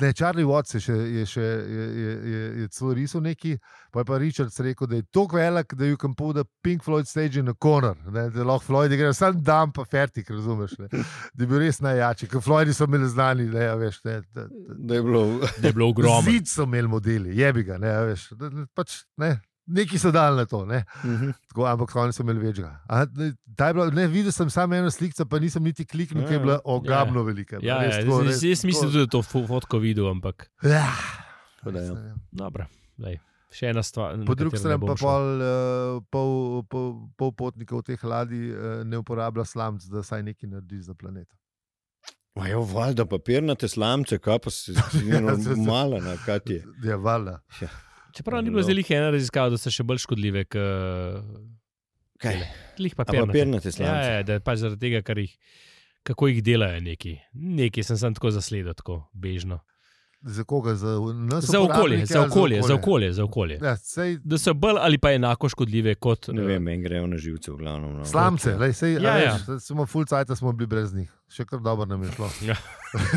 Speaker 1: ne, Charlie Watts je še, je še je, je, je, je celo risal neki, pa je pa Richards rekel, da je tako velik, da ju can put a pink Floyd stage in a corner, ne, da lahko Floyd igra sam dan pa fertik, razumeš, ne. Da je bil res najjači, ker Floydi so bili znani, ne, a veš, ne, da,
Speaker 3: Da je bilo
Speaker 2: da je bilo ogromno.
Speaker 1: Zid so imeli modeli, jebi ga, ne, a veš. da- da Pač, ne. Neki so dali na to, ne.
Speaker 3: Mhm.
Speaker 1: Tako, ampak oni so imeli večjega. A, ne, ta je bila- Ne, videl sem samo eno sliko, pa nisem niti kliknil, ker je bila ogabno velika.
Speaker 2: Ja, ja, jaz, jaz, jaz mislim tudi, da je to fo- fotko videl, ampak
Speaker 1: Ja,
Speaker 3: Tako da, ja.
Speaker 1: res ne vem.
Speaker 2: dobro. Daj. Še ena stvar. na
Speaker 1: Po drugi
Speaker 2: katero ne
Speaker 1: strani
Speaker 2: bom
Speaker 1: pa
Speaker 2: šel.
Speaker 1: pol, eh, pol, pol, pol potnikov teh ladij eh, ne uporablja slamc, da saj nekaj naredi za planet.
Speaker 3: Majo valjda papirnate slamce, kaj pa se zdi normalen, a kaj ti je.
Speaker 1: Ja, valjda.
Speaker 2: Čeprav ni bilo
Speaker 3: No.
Speaker 2: zelo ena raziskava, da so še bolj škodljive, kot
Speaker 3: Kaj?
Speaker 2: jih
Speaker 3: A
Speaker 2: papirnate.
Speaker 3: papirnate slamce.
Speaker 2: Ja, ja, da pač zaradi tega, kar jih, kako jih delajo neki. Neki sem sam tako zasledil, tako bežno.
Speaker 1: Za koga? Za, nas
Speaker 2: Za okolje,
Speaker 1: uporabnike
Speaker 2: za
Speaker 1: ali
Speaker 2: okolje, za okolje, za okolje.
Speaker 1: Ja, sej,
Speaker 2: Da so bolj ali pa enako škodljive kot eh,
Speaker 3: Ne vem, meni grejo na živce, v glavnem. No.
Speaker 1: Slamce, lej, sej,
Speaker 2: Ja,
Speaker 1: ja, veš, ja. smo full cajt, smo bili brez njih, še kar dobro nam je šlo.
Speaker 2: Ja.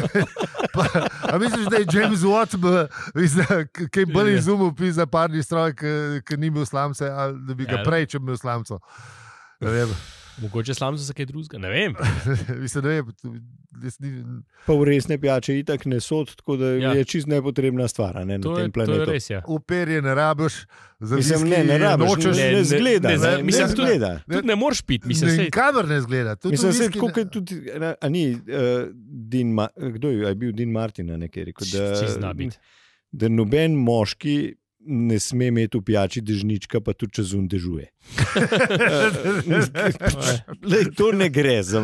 Speaker 1: pa, a misliš, da je James Watt b- pizda, k- kaj bolj
Speaker 2: Ja.
Speaker 1: izumil pri zapadni stroj, ki ni imel slamce, ali da bi ga
Speaker 2: Ja.
Speaker 1: prej, če bi imel slamco? Ne vem,
Speaker 2: Mogoče slam so se kaj drugega, ne vem.
Speaker 1: mislim, ne vem, tu- jaz ni-
Speaker 3: Pa v resne pijače itak ne sod, tako da
Speaker 2: Ja.
Speaker 3: ja. je čist nepotrebna stvar a ne, na
Speaker 2: To
Speaker 3: tem
Speaker 2: je, to je
Speaker 3: planetu.
Speaker 2: res. Ja.
Speaker 1: operje ne rabiš, za
Speaker 3: Mislim,
Speaker 1: viski
Speaker 3: ne, ne rabiš,
Speaker 1: nočeš.
Speaker 3: ne, ne zgleda.
Speaker 2: ne,
Speaker 3: Ne,
Speaker 2: ne,
Speaker 3: ne,
Speaker 2: mislim,
Speaker 3: ne
Speaker 2: tudi-
Speaker 3: zgleda.
Speaker 1: Ne.
Speaker 2: Tudi ne moreš piti, mislim, sej,
Speaker 1: Nikamor ne zgleda. Tudi
Speaker 3: Mislim,
Speaker 1: v
Speaker 3: se
Speaker 1: viski ne-
Speaker 3: tako kot tudi, a- a ni, uh, Din Ma, kdo je, a je bil Din Martin, a nekaj rekel,
Speaker 2: čisto
Speaker 3: da,
Speaker 2: zna biti.
Speaker 3: da noben moški ne sme imeti v pijači dežnička, pa tudi čez un dežuje. Eh, Lej, to ne gre za.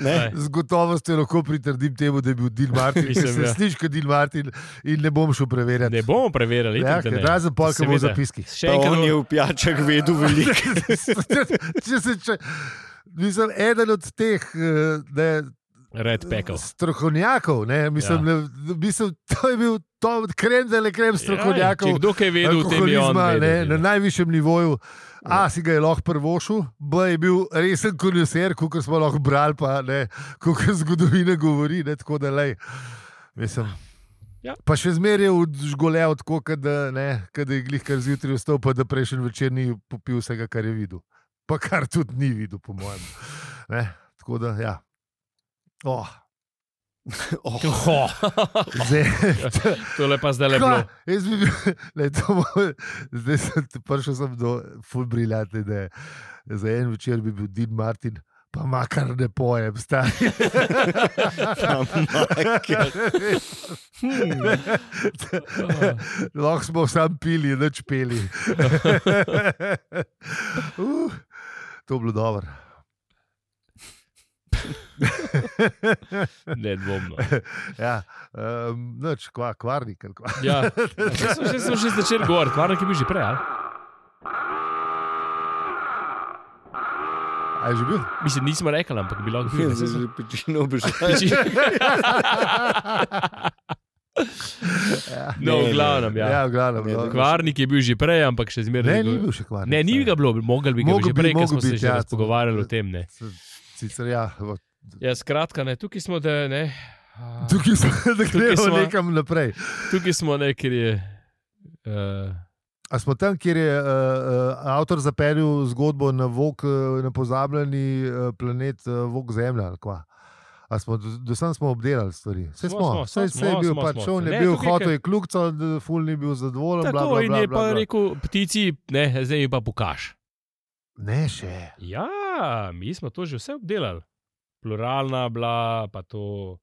Speaker 3: Ne?
Speaker 1: Z gotovostjo lahko pritrdim temu, da je bil Dil Martin.
Speaker 2: Mislim,
Speaker 1: Mislim, se
Speaker 2: ja.
Speaker 1: sliši kot Dil Martin in ne bom šel preverjati.
Speaker 2: Ne bomo preverjali,
Speaker 1: Ja,
Speaker 2: itak da ne.
Speaker 1: razen pol, ki bo v
Speaker 2: Seveda.
Speaker 1: zapiskih.
Speaker 2: Še
Speaker 3: Pa
Speaker 2: enkrat
Speaker 3: on je
Speaker 2: bomo-
Speaker 3: v pijačah vedel veliko.
Speaker 1: če se, če, mislim, eden od teh eh, ne,
Speaker 2: Red pekal.
Speaker 1: strokovnjakov, ne, mislim,
Speaker 2: Ja.
Speaker 1: ja. ne, mislim, to je bil to, krem, da le krem strokovnjakov.
Speaker 2: Ja, če kdo kaj ve, potem je on.
Speaker 1: alkoholizma,
Speaker 2: vedel,
Speaker 1: ne,
Speaker 2: ja.
Speaker 1: na najvišjem nivoju. A si ga je lahko prvošil, B je bil resen konjuser, kot smo lahko brali, pa ne, kot zgodovina govori. Ne, tako da lej. Mislim.
Speaker 2: Ja.
Speaker 1: Pa še zmeraj je žgolel tako, kot da, ne, kot da je glih kar zjutraj vstal, pa da prejšnji večer ni popil vsega, kar je videl. Pa kar tudi ni videl, po mojem. Ne, tako da, ja. Oh,
Speaker 3: Oh,
Speaker 2: Ho,
Speaker 1: zdaj,
Speaker 2: tole pa zdaj lepo.
Speaker 1: Kva? Jaz bi bil, le, to bo, zdaj sem t- prišel sem do fulbriljate, da za en večer bi bil Din Martin, pa makar ne pojem, stari.
Speaker 3: Hmm.
Speaker 1: Lahko smo sam pili, noč peli. Uh, to je bilo dobro.
Speaker 2: Nedvomno.
Speaker 1: Ja, um, noč, kva, kvarnik. ali Kva.
Speaker 2: Ja. Jaz sem že- sem že začel govoriti, varno, ki bi že prej. ali?
Speaker 1: A je že bil?
Speaker 2: Mislim, nismo rekli, ampak bi lahko bil.
Speaker 3: Zdaj že pečino obišel.
Speaker 2: Če- No,
Speaker 3: Ne,
Speaker 2: v glavnem.
Speaker 1: Ja,
Speaker 2: Ja.
Speaker 1: ja glavno.
Speaker 3: Ne,
Speaker 1: Ne,
Speaker 2: Kvarnik je bil že prej, ampak še
Speaker 1: ne,
Speaker 2: zmeraj.
Speaker 1: ni bil še kvarec.
Speaker 2: Ne, ni ga bilo, mogli bi ga
Speaker 1: Mogel
Speaker 2: mogel že
Speaker 1: bi,
Speaker 2: prej, ker
Speaker 1: mogel
Speaker 2: smo se
Speaker 1: biti,
Speaker 2: že
Speaker 1: ja,
Speaker 2: ja, pogovarjali o
Speaker 1: to-
Speaker 2: tem. Ne.
Speaker 1: Sicer ja, v-
Speaker 2: Ja, skratka, ne, tukaj smo, da, ne, a,
Speaker 1: tukaj smo, da gremo
Speaker 2: smo.
Speaker 1: nekam naprej.
Speaker 2: tukaj smo ne, ker je. Uh,
Speaker 1: A smo tam, kjer je uh, uh, avtor zapeljal zgodbo na vok, uh, na pozabljeni uh, planet, uh, vok Zemlja. ali kva? A Smo, do, do sem smo obdelali stvari. Vse smo,
Speaker 2: Smo,
Speaker 1: smo,
Speaker 2: smo,
Speaker 1: vse,
Speaker 2: smo,
Speaker 1: vse je bil,
Speaker 2: smo,
Speaker 1: pač
Speaker 2: smo.
Speaker 1: on
Speaker 2: Ne,
Speaker 1: je bil,
Speaker 2: tukaj,
Speaker 1: hotel
Speaker 2: ker-
Speaker 1: je kljukca, ful ni bil zadovoljen. bla,
Speaker 2: tako
Speaker 1: bla,
Speaker 2: in
Speaker 1: bla,
Speaker 2: je
Speaker 1: bla,
Speaker 2: pa
Speaker 1: bla.
Speaker 2: rekel, ptici, ne, zdaj ji pa pokaž.
Speaker 1: Ne, še.
Speaker 2: Ja, mi smo to že vse obdelali. Pluralna bila, pa to.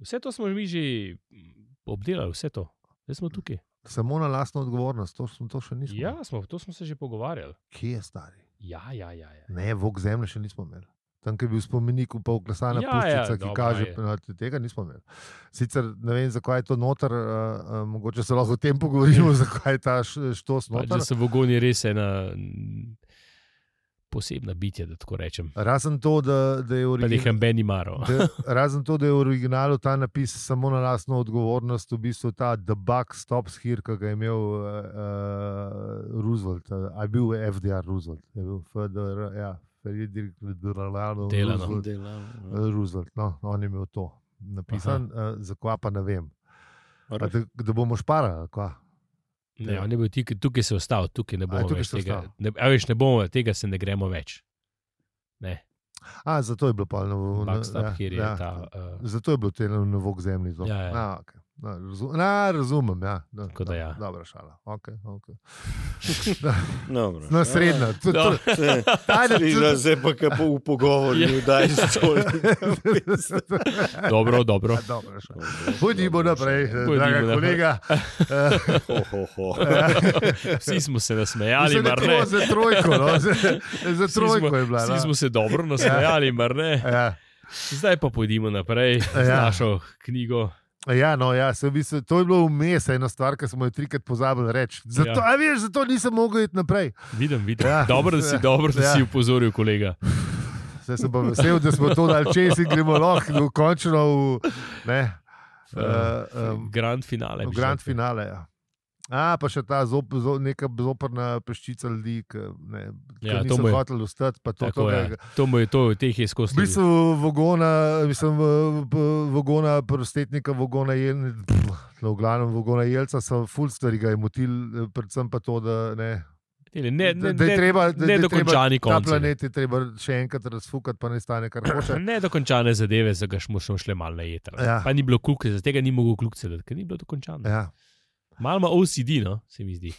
Speaker 2: Vse to smo mi že mm, obdelali, vse to. Zdaj smo tukaj.
Speaker 1: Samo na lastno odgovornost, to, smo- to še nismo.
Speaker 2: Ja, smo, to smo se že pogovarjali.
Speaker 1: Kje je stari?
Speaker 2: Ja, ja, ja. ja.
Speaker 1: Ne, vok zemlje še nismo imeli. Tam, kjer je bil spomenik, pa uklesana ja,
Speaker 2: Ja, ja,
Speaker 1: puščica, ja, ki
Speaker 2: dobro,
Speaker 1: kaže,
Speaker 2: je.
Speaker 1: da tega nismo imeli. Sicer ne vem, zakaj je to noter, uh, uh, mogoče se lahko o tem pogovorimo, zakaj je ta š- štos
Speaker 2: Pač,
Speaker 1: noter.
Speaker 2: da so vogoni res ena mm, posebna bitja, da tako rečem.
Speaker 1: Razen to, da, da, je
Speaker 2: Pa
Speaker 1: origi...
Speaker 2: nekam Beni Maro.
Speaker 1: da, razen to, da je v originalu ta napis samo na lastno odgovornost, v bistvu ta debug stops here, ki ga je imel uh, uh, Roosevelt, eh, a je bil FDR Roosevelt, je bil FDR, ja, Frederick Delano ja.
Speaker 2: Delano.
Speaker 1: Roosevelt. Roosevelt, no, on je imel to napisan, uh, zakaj pa ne vem. A
Speaker 2: Torej.
Speaker 1: Da, da bomo šparali, kva.
Speaker 2: Ne, on je bil tik, tukaj se je ostal, tukaj ne
Speaker 1: Ja. A,
Speaker 2: bomo
Speaker 1: tukaj
Speaker 2: več
Speaker 1: se je
Speaker 2: tega.
Speaker 1: ostal.
Speaker 2: Ne, a veš, ne bomo tega, se ne gremo več. Ne,
Speaker 1: A, zato je bilo pa novo.
Speaker 2: Backstab, ja, kjer je ja, ta. Uh,
Speaker 1: Zato je bilo te na novo k zemlji. to.
Speaker 2: Ja, ja.
Speaker 1: A, okay. Na, razum, na, razumem, ja. No,
Speaker 2: Tako da ja.
Speaker 1: Dobra šala. Okay, okay.
Speaker 3: Dobro.
Speaker 1: No, srednja. To, to,
Speaker 2: Dobro.
Speaker 1: Ajde,
Speaker 3: Slišala se pa, kako v
Speaker 2: Ja.
Speaker 3: pogovoru daš stolje.
Speaker 2: dobro, dobro.
Speaker 1: A, Ja, dobra šala. Pojdimo naprej, eh,
Speaker 2: Pojdimo
Speaker 1: draga
Speaker 2: naprej.
Speaker 1: kolega. Eh,
Speaker 3: Ho, ho, ho.
Speaker 1: Ja.
Speaker 2: Vsi smo se
Speaker 1: Mislim,
Speaker 2: nasmejali,
Speaker 1: da
Speaker 2: mar
Speaker 1: je bilo
Speaker 2: ne.
Speaker 1: Za trojko, no. za, za
Speaker 2: Vsi
Speaker 1: trojko
Speaker 2: smo-
Speaker 1: je bila.
Speaker 2: Vsi
Speaker 1: no.
Speaker 2: smo se dobro nasmejali, mar ne.
Speaker 1: Ja.
Speaker 2: Zdaj pa pojdimo naprej z
Speaker 1: Ja.
Speaker 2: našo knjigo.
Speaker 1: Ja, no, ja, se v bistvu, to je bilo vmes, ena stvar, ki smo jo trikrat pozabili reči. Zato, ja.
Speaker 2: Ja.
Speaker 1: veš, zato nisem mogel iti naprej.
Speaker 2: Vidim, vidim.
Speaker 1: Ja.
Speaker 2: Dobro, da si, dobro, da
Speaker 1: Ja.
Speaker 2: si upozoril, kolega.
Speaker 1: Zdaj sem pa vesel, da smo to dal čez in gremo lahko v končno v, ne, uh, um,
Speaker 2: Eh, Grand finale.
Speaker 1: v
Speaker 2: bi
Speaker 1: grand
Speaker 2: šel.
Speaker 1: finale. Ja. A, pa še ta zop, zo, neka zoprna peščica ljudi, ki ne,
Speaker 2: Ja,
Speaker 1: ja,
Speaker 2: to
Speaker 1: niso
Speaker 2: mu je-
Speaker 1: hoteli ostati. pa To,
Speaker 2: Tako,
Speaker 1: to,
Speaker 2: ja.
Speaker 1: ja.
Speaker 2: To mu je to, teh je izkosti.
Speaker 1: V bistvu vogona, mislim, v- v- vogona, prostetnika, vogona jelca, no, v glavnem vogona jelca, so ful stvari ga je motil, eh, predvsem pa to, da ne.
Speaker 2: Ne, ne,
Speaker 1: da-
Speaker 2: ne,
Speaker 1: da je
Speaker 2: ne,
Speaker 1: treba, da, da je treba,
Speaker 2: nedokončani
Speaker 1: ta
Speaker 2: konci.
Speaker 1: planet je treba še enkrat razfukati, pa ne stane kar hoče.
Speaker 2: Nedokončane zadeve, za kaš mu šlo šle malo na jeter.
Speaker 1: Ja.
Speaker 2: Pa ni bilo kukce, zaradi tega ni mogel kukce, ker ni bilo dokončano.
Speaker 1: Ja.
Speaker 2: Malo ima OCD, no, se mi zdi.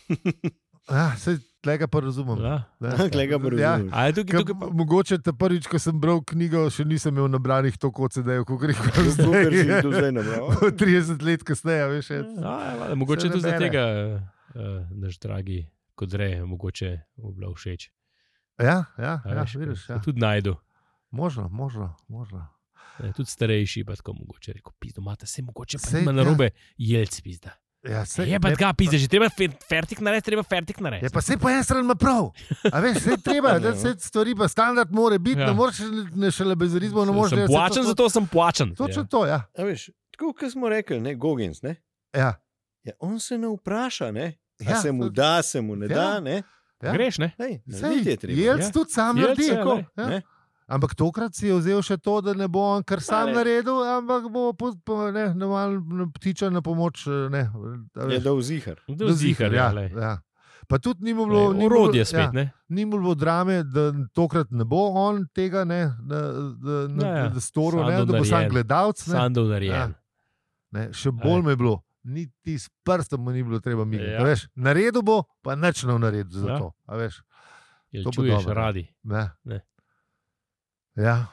Speaker 1: Ja, se tega pa razumem.
Speaker 2: Ja.
Speaker 1: Ne.
Speaker 3: Glej ga, bro.
Speaker 1: Ja.
Speaker 2: A je tukaj,
Speaker 1: Ka,
Speaker 2: tukaj pa...
Speaker 1: mogoče te prvič, ko sem bral knjigo, še nisem imel nabranih toliko CD-jev, kot rekel.
Speaker 3: Zato, ker si jih do zdaj nabral.
Speaker 1: 30 let kasneje, a veš. je-
Speaker 2: A, ja, vale, mogoče je
Speaker 1: Se
Speaker 2: tudi zaradi
Speaker 1: nabere.
Speaker 2: tega uh, naš dragi kodre, mogoče mu bila všeč.
Speaker 1: Ja, ja,
Speaker 2: A
Speaker 1: ja,
Speaker 2: veš,
Speaker 1: vidiš. Ja.
Speaker 2: ko- Tudi najdu.
Speaker 1: Možno, možno, možno.
Speaker 2: Ne, tudi starejši, pa tako mogoče reko, pizdo, imate se mogoče, pa
Speaker 1: Sej,
Speaker 2: ima
Speaker 1: ja.
Speaker 2: na robe, jelc pizda.
Speaker 1: Ja, se,
Speaker 2: Je pa ga pizda, že treba fer- fertik narediti, treba fertik
Speaker 1: Je
Speaker 2: narediti.
Speaker 1: Ja, pa se po eni strani ima prav. A veš, vse je
Speaker 3: Ja.
Speaker 1: treba, da se stvari, pa standard mora biti, ja.
Speaker 2: Ja.
Speaker 1: ne moreš ne šele bezarizmo, ne moreš
Speaker 2: sem
Speaker 1: delati vse
Speaker 2: plačen,
Speaker 1: to-
Speaker 2: zato sem plačen.
Speaker 1: Točno to, ja.
Speaker 3: A veš, tako kot smo rekli, ne, Gogins. Ne?
Speaker 1: ja.
Speaker 3: Ja, on se ne vpraša, ne? Ja,
Speaker 1: Ja,
Speaker 3: se mu
Speaker 1: to-
Speaker 3: da, se mu ne
Speaker 1: Ja.
Speaker 3: da. Ne?
Speaker 1: Ja.
Speaker 2: Ja. Greš, ne?
Speaker 3: Lej,
Speaker 1: Sej,
Speaker 3: narediti je treba.
Speaker 1: Jelc
Speaker 2: ja.
Speaker 1: tudi sam
Speaker 2: Jelc
Speaker 1: naredi.
Speaker 2: je,
Speaker 1: tako,
Speaker 2: lej.
Speaker 1: ja.
Speaker 3: Ne?
Speaker 1: Ampak tokrat si je vzel še to, da ne bo on kar sam
Speaker 3: Ale.
Speaker 1: Ale. naredil, ampak bo po, po, ne, ne, ne, ptiča na pomoč. Ne, a
Speaker 3: Je
Speaker 1: veš,
Speaker 3: dal zihar.
Speaker 2: Do zihar, ja.
Speaker 1: ja,
Speaker 2: lej.
Speaker 1: ja. Pa tudi ni mu bilo
Speaker 2: Lej,
Speaker 1: ni mu bilo-
Speaker 2: Orodje
Speaker 1: ja.
Speaker 2: spet, ne?
Speaker 1: ni mu bilo drame, da tokrat ne bo on tega, ne, da, da,
Speaker 2: Ja, ja.
Speaker 1: da, da storil,
Speaker 2: Sam
Speaker 1: ne, da bo
Speaker 2: narejen.
Speaker 1: sam gledalec. ne.
Speaker 2: Sandov
Speaker 1: Ja.
Speaker 2: narejen.
Speaker 1: Ne, še bolj me je bilo, niti s prstom mu ni bilo treba misliti.
Speaker 2: Ja.
Speaker 1: Ja. Naredil bo, pa nič ne v naredu za
Speaker 2: Ja.
Speaker 1: to. a veš.
Speaker 2: Jel
Speaker 1: To bo
Speaker 2: čuješ
Speaker 1: dobro, ja.
Speaker 2: radi?
Speaker 1: Ne.
Speaker 2: Ne.
Speaker 1: Ja.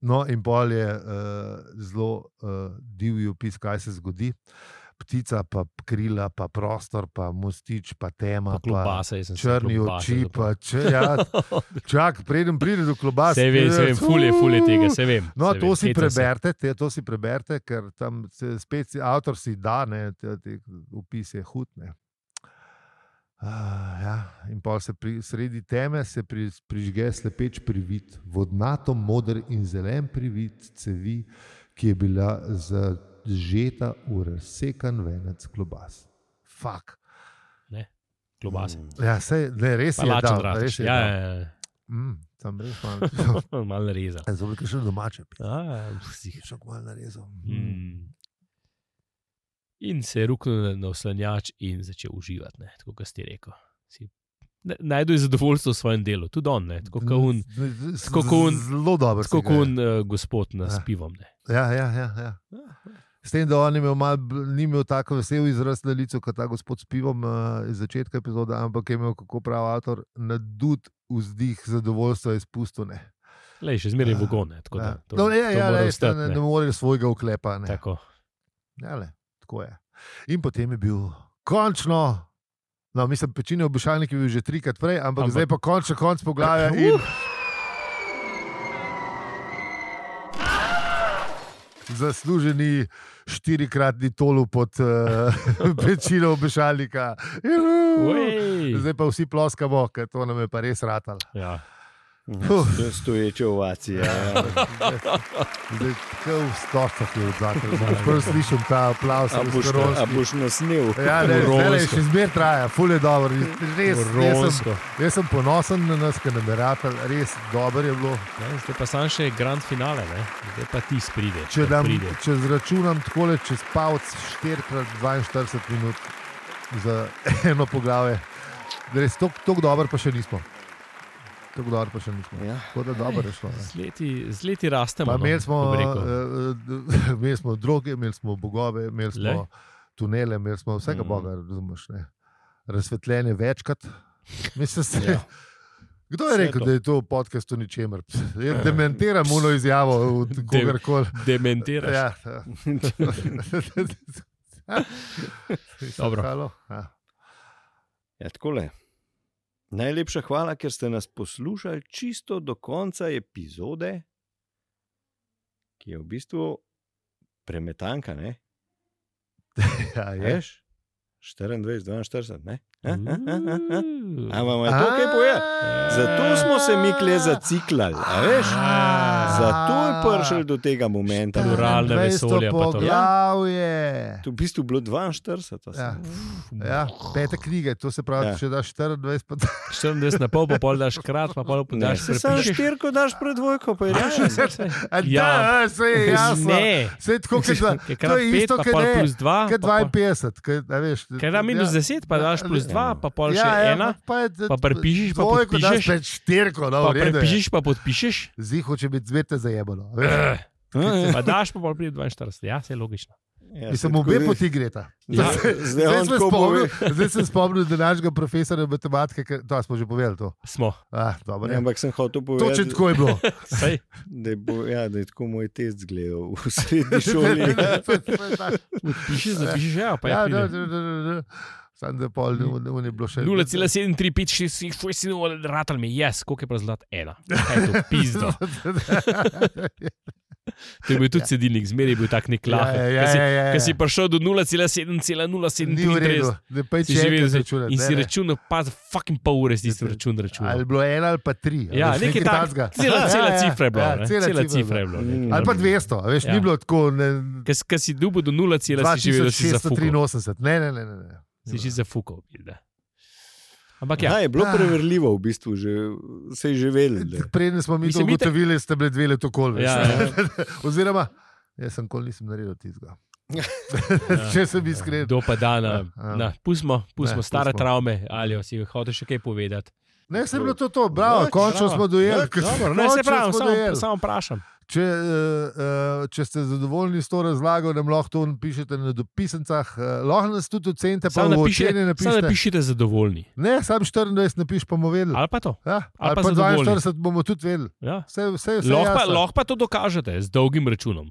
Speaker 1: No, in pol je uh, zelo uh, divji opis, kaj se zgodi. Ptica, pa krila, pa prostor, pa mostič, pa tema,
Speaker 2: Pa klobasa, jaz sem se
Speaker 1: črni
Speaker 2: klobase
Speaker 1: oči.
Speaker 2: zapomnil.
Speaker 1: Pa, če, ja, čak, preden pride do klobasa.
Speaker 2: Se vem, se vem, fulje, fulje tega, se vem.
Speaker 1: No,
Speaker 2: se
Speaker 1: to
Speaker 2: vem,
Speaker 1: si,
Speaker 2: hecam se.
Speaker 1: preberite, te, to si preberite, ker tam se spet si, avtor si da, ne, te, te opis je hud. ne. Ah, ja. In pa se pri, sredi teme se pri, prižge slepeč privit, vodnato, moder in zelen privit cevi, ki je bila za, žeta v razsekan venec klobas. Fak.
Speaker 2: Klobase.
Speaker 3: Mm.
Speaker 1: Ja, sej, ne, res je,
Speaker 2: Palačen
Speaker 1: da
Speaker 2: draž.
Speaker 1: je.
Speaker 2: Ja, ja,
Speaker 1: Mm, tam res malo.
Speaker 2: ja. malo reza.
Speaker 1: Zoblik je še domače.
Speaker 2: Ah, psih.
Speaker 1: Še malo narezal. Mm.
Speaker 2: Mm. In se je ruknil na oslanjač in začel uživati, ne, tako kot si rekel. Si, ne, najdu je zadovoljstvo v svojem delu, tudi on, ne, tako kot un,
Speaker 1: Z- z-
Speaker 2: tako kot un-
Speaker 1: Zelo dobro. si
Speaker 2: tako
Speaker 1: ga
Speaker 2: kot
Speaker 1: je.
Speaker 2: un uh, gospod na
Speaker 1: Ja.
Speaker 2: s pivom. Ne.
Speaker 1: Ja, ja, ja, ja. S tem, da on je imel, mal, bl- ni imel tako vesel izraz na licu kot ta gospod s pivom eh, iz začetka epizode, ampak je imel, kako pravi avtor, nadut vzdih zadovoljstva izpustone.
Speaker 2: Lej, še zmeraj je
Speaker 1: Ja.
Speaker 2: vogone. Tako da, to,
Speaker 1: no, ne,
Speaker 2: to
Speaker 1: ja,
Speaker 2: mora
Speaker 1: lej,
Speaker 2: ostati,
Speaker 1: ne,
Speaker 2: ne.
Speaker 1: ne moreš svojega uklepa. Ne.
Speaker 2: Tako.
Speaker 1: Ja, le, tako je. In potem je bil končno. No, mislim, pečine obišalnik je bil že trikrat prej, ampak,
Speaker 2: Ampak-
Speaker 1: ampak. zdaj pa končno konc poglavja. In...
Speaker 3: Uh!
Speaker 1: Zasluženi štirikratni tolu pod uh, pečino obišalnika. Juhu!
Speaker 2: Uej.
Speaker 1: Zdaj pa vsi ploskamo, ker to nam je pa res ratal.
Speaker 2: Ja.
Speaker 1: Uf.
Speaker 3: Mm. Stoječe ovacije. Ja.
Speaker 1: Zdaj, kot v stotah je odzvati. Prvi slišim ta aplaus,
Speaker 3: A boš,
Speaker 1: ruskoronski.
Speaker 3: a boš nasnil?
Speaker 1: Ja, ne, ne,
Speaker 2: Ronsko.
Speaker 1: še zmeraj traja, ful je dobro. Res, jaz, sem,
Speaker 2: Ronsko.
Speaker 1: jaz sem ponosen na nas, ker nam je rata, res dobro je bilo.
Speaker 2: Ne, zdaj pa sam še grand finale, ne. zdaj pa ti spride.
Speaker 1: Če, dam,
Speaker 2: Ja, pride.
Speaker 1: če zračunam tako, čez pavc 4x42 minut za eno poglavje, Da res tako tako dobro pa še nismo. Tako dobro pa še nismo.
Speaker 3: Ja.
Speaker 1: Tako da dobro je šlo. ne.
Speaker 2: Z leti- Z leti rastemo.
Speaker 1: Pa
Speaker 2: no,
Speaker 1: imeli smo,
Speaker 2: bi rekel.
Speaker 1: eh, eh, imeli smo droge, imeli smo bogove, imeli smo
Speaker 2: Glej.
Speaker 1: Le. tunele, imeli smo vsega
Speaker 3: Mhm.
Speaker 1: mm. boga, razumeš. Ne? Razsvetljenje večkrat. Mislim, se,
Speaker 3: Ja.
Speaker 1: ja. Kdo je
Speaker 3: Vse
Speaker 1: rekel,
Speaker 3: to.
Speaker 1: da je to podcast o ničemer? Pst, Jaz dementiram uno izjavo od kogarkoli.
Speaker 2: Dementiraš.
Speaker 1: Ja, ja.
Speaker 2: Dobro.
Speaker 1: Halo? Ja.
Speaker 3: Ja, takole. Najlepša hvala, ker ste nas poslušali čisto do konca epizode, ki je v bistvu premetanka. Ne?
Speaker 1: Ja, je.
Speaker 3: Veš? 24, 42, ne?
Speaker 2: Uh.
Speaker 3: Ampak ima to kaj povedati? Zato smo se mi kle zaciklali, a veš? Zato je prišel do tega
Speaker 1: Ja.
Speaker 3: momenta.
Speaker 2: Plural. pluralne
Speaker 1: 24
Speaker 2: vesolja pa to.
Speaker 1: Poglavje.
Speaker 3: To je v bistvu bilo 42, a sem.
Speaker 1: Ja. Ja, pete knjige, to se pravi,
Speaker 3: Ja.
Speaker 1: ja. če daš 24, pa da
Speaker 2: 40 na pol, pa pol daš krat, pa pol
Speaker 3: Ne,
Speaker 2: daš
Speaker 3: se samo štirko daš pred dvojko, pa je rešen.
Speaker 2: Ja.
Speaker 1: Ja, da, se je jasno.
Speaker 2: Ne,
Speaker 1: Se je tako, kot da, to
Speaker 2: je krat
Speaker 1: je
Speaker 2: 5,
Speaker 1: isto,
Speaker 2: pa
Speaker 1: kot
Speaker 2: pol
Speaker 1: ne,
Speaker 2: plus 2.
Speaker 1: kot 52, kaj, a veš.
Speaker 2: Kaj da minus 10, pa daš plus
Speaker 1: Ja.
Speaker 2: 2, pa pol še 1,
Speaker 1: pa, je-
Speaker 2: pa prepišiš, pa
Speaker 1: dvojko daš
Speaker 2: podpišeš.
Speaker 1: pred štirko, no,
Speaker 2: pa
Speaker 1: v redu. je.
Speaker 2: prepišiš, pa podpišeš,
Speaker 1: Ziho, če bi zvete zajebalo.
Speaker 3: Ja,
Speaker 1: Eh, a veš.
Speaker 2: pa daš, pa pol pride 42. Ja, se je logično.
Speaker 3: Ja,
Speaker 1: Mislim,
Speaker 3: saj tako
Speaker 1: obe
Speaker 3: je.
Speaker 1: poti greta.
Speaker 3: Ja, Zdaj
Speaker 1: Zdaj
Speaker 3: on
Speaker 1: sem
Speaker 3: tako
Speaker 1: spomnil-
Speaker 3: pove.
Speaker 1: Zdaj sem spomnil današnjega profesora matematike, ker- to smo že povedali. To.
Speaker 2: Smo.
Speaker 1: Ah, dobro,
Speaker 3: Ne,
Speaker 1: ja.
Speaker 3: Ampak sem hotel povedati,
Speaker 1: Točno tako je bilo.
Speaker 2: Sej,
Speaker 3: da, je bo, ja, da je tako moj test gledal v srednji šoli.
Speaker 2: podpišeš, zapišeš, ja, pa je.
Speaker 1: Ja, da, da,
Speaker 2: pride.
Speaker 1: da, da, da. Sam da pol, ne, ne, ne bilo še.
Speaker 2: 0,7356, ratal mi je, yes, koliko je pa zlat ena. Kaj je to, pizdo. To je bil tudi sedilnik, zmeraj je bil tak nek lahek.
Speaker 1: Ja, ja,
Speaker 2: Ko si-
Speaker 1: ja, ja,
Speaker 2: Ko
Speaker 1: ja.
Speaker 2: si prišel do
Speaker 1: Ni v redu,
Speaker 2: 0,7,037,
Speaker 1: ne pa če
Speaker 2: si že
Speaker 1: že
Speaker 2: vedel,
Speaker 1: veš
Speaker 2: zdaj-
Speaker 1: računati.
Speaker 2: in si
Speaker 1: ne, ne.
Speaker 2: računal, pa fucking pol ure si tisti račun
Speaker 1: Ali je
Speaker 2: računal.
Speaker 1: bilo ena ali pa tri. a
Speaker 2: Ja,
Speaker 1: veš,
Speaker 2: nekaj
Speaker 1: nekaj
Speaker 2: takega.
Speaker 1: takega.
Speaker 2: Cela, cela
Speaker 1: Ja, ja,
Speaker 2: cifra je bila.
Speaker 1: ja,
Speaker 2: ne,
Speaker 1: cela cifra
Speaker 2: Cela
Speaker 1: je
Speaker 2: cifra je bila. nekaj.
Speaker 1: Ali pa 200, a veš,
Speaker 2: Ja.
Speaker 1: ni bilo tako. ne,
Speaker 2: Ko si- Ko si dubo do 0,7, si že vedel, da si zafukal.
Speaker 1: 2683, ne, ne, ne. ne, ne.
Speaker 2: Si že zafukal. bilda. Ampak ja,
Speaker 3: Ja, je bilo
Speaker 1: Ah.
Speaker 3: preverljivo, v bistvu, že, se je že vedel. da-
Speaker 1: Preden smo mi to
Speaker 2: Mislim, mi te-
Speaker 1: ugotovili, ste bili dve leti okoli.
Speaker 2: Ja,
Speaker 1: Oziroma, jaz sem kol nisem naredil tistega. Če sem iskren.
Speaker 2: do pa
Speaker 1: Ja,
Speaker 2: dana.
Speaker 1: ja.
Speaker 2: na, Pustimo, pustimo
Speaker 1: Ne,
Speaker 2: stare
Speaker 1: pustimo.
Speaker 2: travme, ali si hotel še kaj povedati.
Speaker 1: Ne, se je bilo to, to. bravo,
Speaker 3: Ja,
Speaker 1: končno
Speaker 3: bravo.
Speaker 1: smo dojeli.
Speaker 3: Ja,
Speaker 1: ker-
Speaker 3: dobro,
Speaker 2: Ne, se
Speaker 1: končno
Speaker 2: pravi,
Speaker 1: smo
Speaker 2: samo,
Speaker 1: dojeli.
Speaker 2: samo vprašam.
Speaker 1: Če, eh, eh, če ste zadovoljni s to razlago, nam lahko to napišete na dopisnicah, eh, lahko nas tudi ocenite, pa
Speaker 2: Samo
Speaker 1: v
Speaker 2: napišite,
Speaker 1: ocenje
Speaker 2: samo
Speaker 1: napišete.
Speaker 2: napišite zadovoljni.
Speaker 1: Ne, sam 24 napiš, pa bomo vedeli.
Speaker 2: Ali pa to.
Speaker 1: Ja, ali
Speaker 2: pa
Speaker 1: pa
Speaker 2: zadovoljni.
Speaker 1: 42 bomo tudi vedeli.
Speaker 2: Ja.
Speaker 1: Vse, vse, vse
Speaker 2: Lahko pa,
Speaker 1: jasno.
Speaker 2: lahko pa to dokažete z dolgim računom.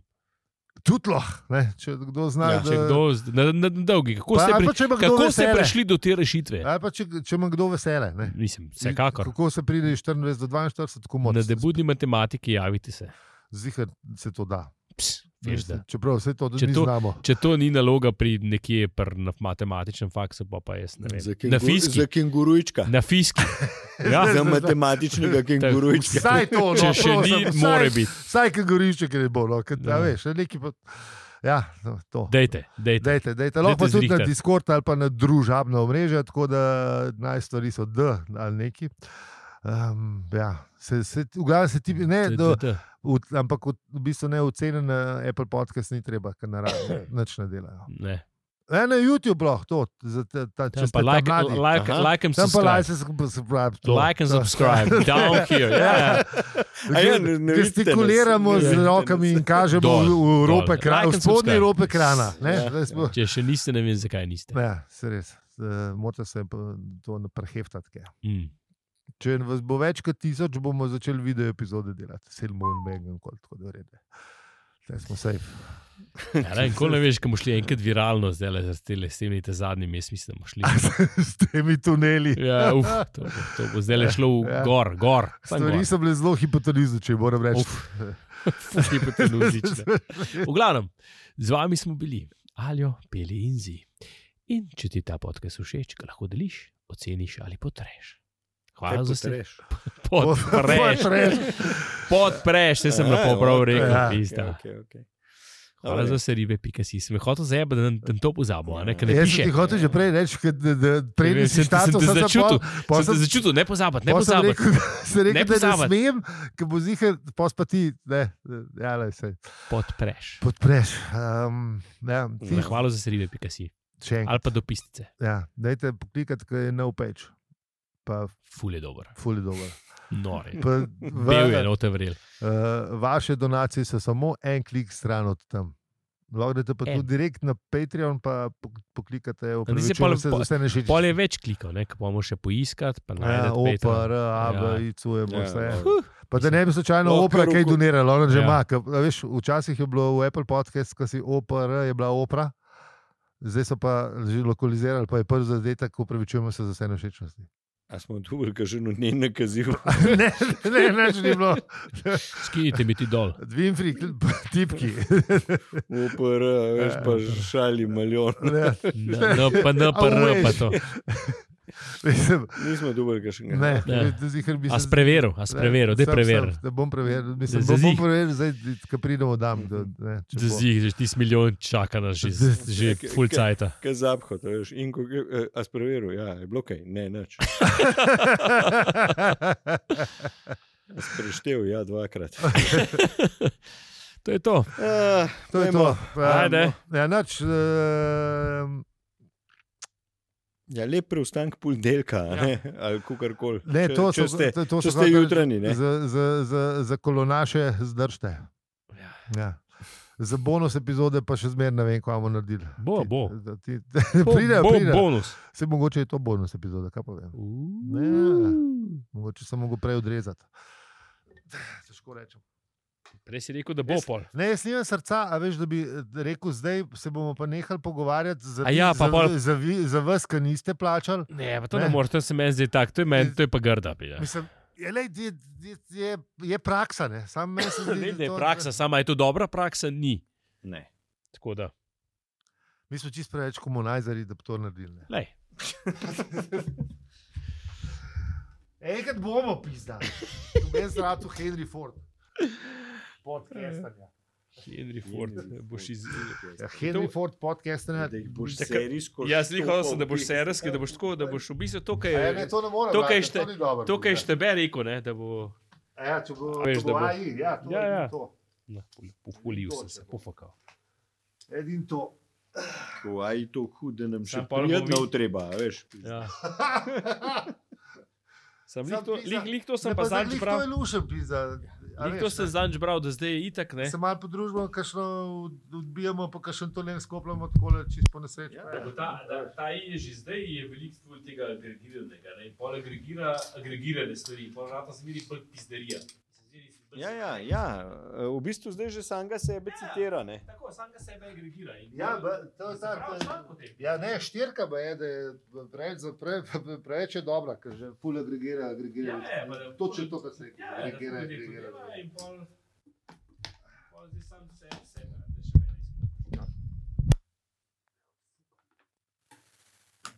Speaker 1: Tudi lahko, ne, če kdo zna.
Speaker 3: Ja,
Speaker 1: da-
Speaker 2: Če kdo, z- na, na, na dolgi, kako,
Speaker 1: Pa,
Speaker 2: ste,
Speaker 1: ali
Speaker 2: pri,
Speaker 1: pa če ima kdo
Speaker 2: kako ste
Speaker 1: vesele.
Speaker 2: prišli do te rešitve?
Speaker 1: Ali pa če, če ima kdo vesele. Ne.
Speaker 2: Mislim, vsekakor.
Speaker 1: Kako se pride iz 24 do 42, tako
Speaker 2: Na
Speaker 1: močno.
Speaker 2: debudni matematiki javite se.
Speaker 1: Zihar se to da.
Speaker 2: Ps, veš, da.
Speaker 1: Čeprav vse to
Speaker 2: Če
Speaker 1: tudi
Speaker 2: to-
Speaker 1: to... znamo.
Speaker 2: Če to ni naloga pri nekje pri na matematičnem faksu, pa, pa jaz ne vem.
Speaker 3: Za,
Speaker 2: Na
Speaker 3: kengur,
Speaker 2: fiski.
Speaker 3: za kengurujčka.
Speaker 2: Na fiski. Ja,
Speaker 3: Za matematičnega kengurujčka.
Speaker 1: Vsaj to, no,
Speaker 2: če še
Speaker 1: prosim,
Speaker 2: ni,
Speaker 1: vsaj-
Speaker 2: mora biti.
Speaker 1: Vsaj, ki gorišče, ki ne bo, no, kad,
Speaker 2: Ja.
Speaker 1: ja. veš, neki pa. Ja, no, to.
Speaker 2: Dejte, dejte.
Speaker 1: Dajte, dajte. Lahko pa
Speaker 2: Dajte
Speaker 1: tudi na
Speaker 2: zrihtat.
Speaker 1: Discord ali pa na družabno omrežje, tako da naj stvari so D ali neki. Um, ja, se, se, v glavnem se ti ne, no.
Speaker 2: Dajte,
Speaker 1: do,
Speaker 2: dajte.
Speaker 1: v, ampak v, v bistvu ne ocenjen eh, Apple podcast ni treba, ker naravno nič ne delajo.
Speaker 2: Ne.
Speaker 1: E, na YouTube lahko to, za ta, ta, če
Speaker 2: Tam pa
Speaker 1: ste
Speaker 2: like,
Speaker 1: like, mladi.
Speaker 2: like,
Speaker 3: Aha.
Speaker 2: like and
Speaker 1: Tam pa
Speaker 2: subscribe.
Speaker 1: like, se subscribe. to,
Speaker 2: Like and
Speaker 1: to.
Speaker 2: subscribe, down here. ja. Yeah.
Speaker 1: A ja,
Speaker 3: Ja. ne- ne vidite
Speaker 1: Gestikuliramo
Speaker 3: nas, ne
Speaker 1: z
Speaker 3: vidite
Speaker 1: rokami
Speaker 3: nas.
Speaker 1: in kažemo
Speaker 2: Dol,
Speaker 1: v, v,
Speaker 2: dol.
Speaker 1: rope krana,
Speaker 2: Like
Speaker 1: v
Speaker 2: and
Speaker 1: spodnji
Speaker 2: subscribe.
Speaker 1: rope krana. Ne,
Speaker 3: Ja,
Speaker 1: Zdaj smo-
Speaker 2: Če še niste, ne vem, zakaj niste.
Speaker 1: Ja, se res. Eh, Morate se pa to preheftati. kaj.
Speaker 2: Mm.
Speaker 1: Če vas bo več kot tisoč, bomo začeli video epizode delati, sedmo in megan, kot tako da rede. Zdaj smo safe.
Speaker 2: Ja, ne, nikoli ne veš, kam boš šli enkrat viralno, zdaj le z tele- s temi te zadnjimi, jaz mislim, da bomo šli.
Speaker 1: S temi tuneli.
Speaker 2: Ja, uf, to, bo- to bo zdaj le šlo v
Speaker 1: Ja.
Speaker 2: gor, gor. samo gor.
Speaker 1: Stvari so bile zelo hipotenuzne, moram reči.
Speaker 2: Uf. Fuk je hipotenuzična. V glavnem, z vami smo bili, alijo, peli in zi. In če ti ta podcast všeč, ga lahko deliš, oceniš ali potreš. Hvala za vse. Podpreš, podpreš, se sem lepo prav rekel.
Speaker 1: ja,
Speaker 2: pizda.
Speaker 3: Okay, okay.
Speaker 2: Hvala za vse ribe, pika si. Sem hotel zebe, da da to pozabo, a ne, ker ne
Speaker 1: Jaz sem
Speaker 2: piše.
Speaker 1: ti hotel že prej reči, ke- da- da prej
Speaker 2: Sem-
Speaker 1: nisi
Speaker 2: sem- sem
Speaker 1: štartal,
Speaker 2: te
Speaker 1: sem se
Speaker 2: začutil.
Speaker 1: pol- pol
Speaker 2: Sem
Speaker 1: sem-
Speaker 2: te začutil, ne pozabiti, ne
Speaker 1: pol sem
Speaker 2: pozabiti.
Speaker 1: rekel, sem
Speaker 2: Ne
Speaker 1: rekel, da ne
Speaker 2: pozabiti.
Speaker 1: smem, ker bo zihar, pos pa ti, ne, ja, lej, saj.
Speaker 2: Podpreš.
Speaker 1: podpreš. Um, ja, ti,
Speaker 3: Ja.
Speaker 2: Hvala za vse ribe, pika si.
Speaker 1: še enkrat.
Speaker 2: Ali pa dopisnice.
Speaker 1: Ja, dajte poklikati, kaj je nov peč. Pa
Speaker 2: Ful je dober,
Speaker 1: fully dobro.
Speaker 2: nore. Bil
Speaker 1: Uh,
Speaker 2: je no. notevrel.
Speaker 1: eh, vaše donacije so samo en klik stran od tam. Lahko greste pa
Speaker 2: En.
Speaker 1: tudi direkt na Patreon, pa pok- poklikate v
Speaker 2: Tam nisi pol-
Speaker 1: se za vse nešiče.
Speaker 2: Pol je več klikov, ne, ko bomo še poiskati, pa
Speaker 1: Ja,
Speaker 2: najdemo
Speaker 1: opar, AB,
Speaker 2: Ja.
Speaker 1: ICU,
Speaker 3: Ja,
Speaker 1: vse.
Speaker 3: dobro.
Speaker 1: Pa da ne bi slučajno
Speaker 3: Lahko
Speaker 1: opera kaj
Speaker 3: roko-
Speaker 1: donirala, ona že
Speaker 2: Ja.
Speaker 1: ima. ke- a Veš, včasih je bilo v Apple podcast, ko si opera, je bila opera, zdaj so pa že lokalizirali, pa je prvi zadetek, upravičujemo se za vse nešečnosti.
Speaker 3: A smo tu, kar že ne nakazil.
Speaker 1: ne, ne, ne, ni bilo.
Speaker 2: Skinite mi ti dol.
Speaker 1: Dvinfri, kl- tipki.
Speaker 3: Upor, veš pa šali milijon.
Speaker 1: Ne,
Speaker 2: No, pa ne, pa ne, pa to.
Speaker 1: Mislim,
Speaker 3: Nismo tu, kar še
Speaker 1: ne,
Speaker 2: Ja.
Speaker 1: ne. Zihar, mislim,
Speaker 2: A spreveril, a spreveril, dej
Speaker 1: Sem,
Speaker 2: preveril.
Speaker 1: sem, Da bom preveril, mislim,
Speaker 2: Da
Speaker 1: da bom
Speaker 2: zazih.
Speaker 1: preveril, zdaj, ko pridemo, dam. Da, ne, če bo.
Speaker 2: Zdi, že ti milijon čaka nas že, že
Speaker 3: Ke- ke-
Speaker 2: full cajta.
Speaker 3: Kaj zapko, to veš. In ko eh, a spreveril, ja, je bilo kaj, ne, nič. A Spreštev, ja, dvakrat.
Speaker 2: To je to.
Speaker 3: Ah,
Speaker 1: to je
Speaker 3: pojmo.
Speaker 1: to.
Speaker 2: Ajde.
Speaker 1: Um, ja, nač, um,
Speaker 3: Ja, lep preostanek poldelka,
Speaker 2: Ja.
Speaker 3: ja. ali kakorkoli.
Speaker 1: ne,
Speaker 3: Če-
Speaker 1: to
Speaker 3: če
Speaker 1: so
Speaker 3: ste-
Speaker 1: to- to
Speaker 3: če
Speaker 1: so
Speaker 3: ste
Speaker 1: kakor-
Speaker 3: jutranji, ne?
Speaker 1: Za, za, za, za kolonaše zdržite. Ja. Za bonus epizode pa še zmeraj ne vem, kaj bomo naredili.
Speaker 2: Bo,
Speaker 1: Ti-
Speaker 2: bo.
Speaker 1: da Ti,
Speaker 2: Bo,
Speaker 1: pridejo,
Speaker 2: bo
Speaker 1: pridejo.
Speaker 2: bonus.
Speaker 1: Se mogoče je to bonus epizoda, kaj pa vem.
Speaker 2: Uuu.
Speaker 1: Mogoče sem mogel prej odrezati. Težko rečem.
Speaker 2: Prej si rekel, da bo pol.
Speaker 1: Ne, jaz nimam srca, a veš, da bi eh, rekel, zdaj se bomo pa nehali pogovarjati za,
Speaker 2: A
Speaker 1: ti-
Speaker 2: ja, pa
Speaker 1: za,
Speaker 2: pol-
Speaker 1: za, vi- za vas, ki niste plačali.
Speaker 2: Ne, pa to
Speaker 1: Ne.
Speaker 2: ne, ne moreš, to se meni zdi tako, to je, meni, to je pa grda. ja. pida.
Speaker 1: Mislim, je, lej, je, je, je, je praksa, ne? Sam meni se zdi,
Speaker 2: Ne,
Speaker 1: da
Speaker 2: ne,
Speaker 1: to-
Speaker 2: praksa, sama je to dobra praksa, ni.
Speaker 3: Ne.
Speaker 2: Tako da,
Speaker 1: Mi smo čisto preveč komunizari, da bi to naredili. ne.
Speaker 2: lej.
Speaker 1: Enkrat bomo pizda. Meni se rado Henry Ford. Podcastanja.
Speaker 2: Henry Ford, boš iz...
Speaker 1: Ja, Henry
Speaker 2: To-
Speaker 1: Ford podcastanja.
Speaker 3: Da jih boš
Speaker 2: Takrat-
Speaker 3: serijsko
Speaker 2: Jaz slišal sem,
Speaker 3: štopal
Speaker 2: da boš
Speaker 3: v-
Speaker 2: serijski, da boš tako, da boš v bistvu to, kar
Speaker 1: A Ja, ne,
Speaker 2: je.
Speaker 1: to ne more.
Speaker 2: to, kaj
Speaker 1: brate,
Speaker 2: šte-
Speaker 1: to ni dobro,
Speaker 2: To, kar je
Speaker 1: pizda.
Speaker 2: štebe rekel, ne, da bo.
Speaker 1: A Ja, če bo,
Speaker 2: Veš,
Speaker 1: če bo
Speaker 2: da bo.
Speaker 1: AI, ja, to
Speaker 2: Ja,
Speaker 1: je
Speaker 2: ja.
Speaker 1: to.
Speaker 2: Pohulil sem se, pofakal.
Speaker 1: Edin to.
Speaker 3: Tako, Aj, to hud, da nam še
Speaker 2: Samo pol bomo
Speaker 3: prijetno
Speaker 2: videli.
Speaker 3: treba, a veš.
Speaker 2: Ja.
Speaker 1: Sam
Speaker 2: Sam lih to,
Speaker 1: pizda.
Speaker 2: lih, lih to
Speaker 1: Ne,
Speaker 2: sem pa
Speaker 1: zdaj
Speaker 2: zadnjič
Speaker 1: glih
Speaker 2: bral.
Speaker 1: To je lušen pizda. a
Speaker 2: Lih
Speaker 1: veš,
Speaker 2: to sem
Speaker 1: ne.
Speaker 2: zadnjič bral, da zdaj je itak, ne.
Speaker 1: Se malo podružimo, kakšno odbijamo, pa kakšen to ne skopljamo, tako da čisto po nesreči.
Speaker 2: Da bo Ta, da- ta I je že zdaj je veliko bolj tega agregiranega, ne? pol agregira agregirane stvari, pol rata se vidi bolj pizderija.
Speaker 3: Ja, ja, ja, eh, v bistvu zdaj že samega sebe
Speaker 2: Ja.
Speaker 3: citira. Ne?
Speaker 2: Tako, sam ga sebe agregira. in
Speaker 1: Ja,
Speaker 2: pol-
Speaker 1: ba- to je
Speaker 2: Sem
Speaker 1: tako,
Speaker 2: prav
Speaker 1: to je-
Speaker 2: članek o tem.
Speaker 1: Ja, ne, štirka pa je, da je preveč, za- pre, pre, preveč je dobra, ker že pula agregira, agregira.
Speaker 2: Ja, ne, pa da-
Speaker 1: Točno to, kar se reče.
Speaker 2: Ja, da
Speaker 1: Agregira,
Speaker 2: se ljudje
Speaker 1: agregira.
Speaker 2: podzivajo in pol- pol zdaj sam sebi sebe, da še mene izkušnja.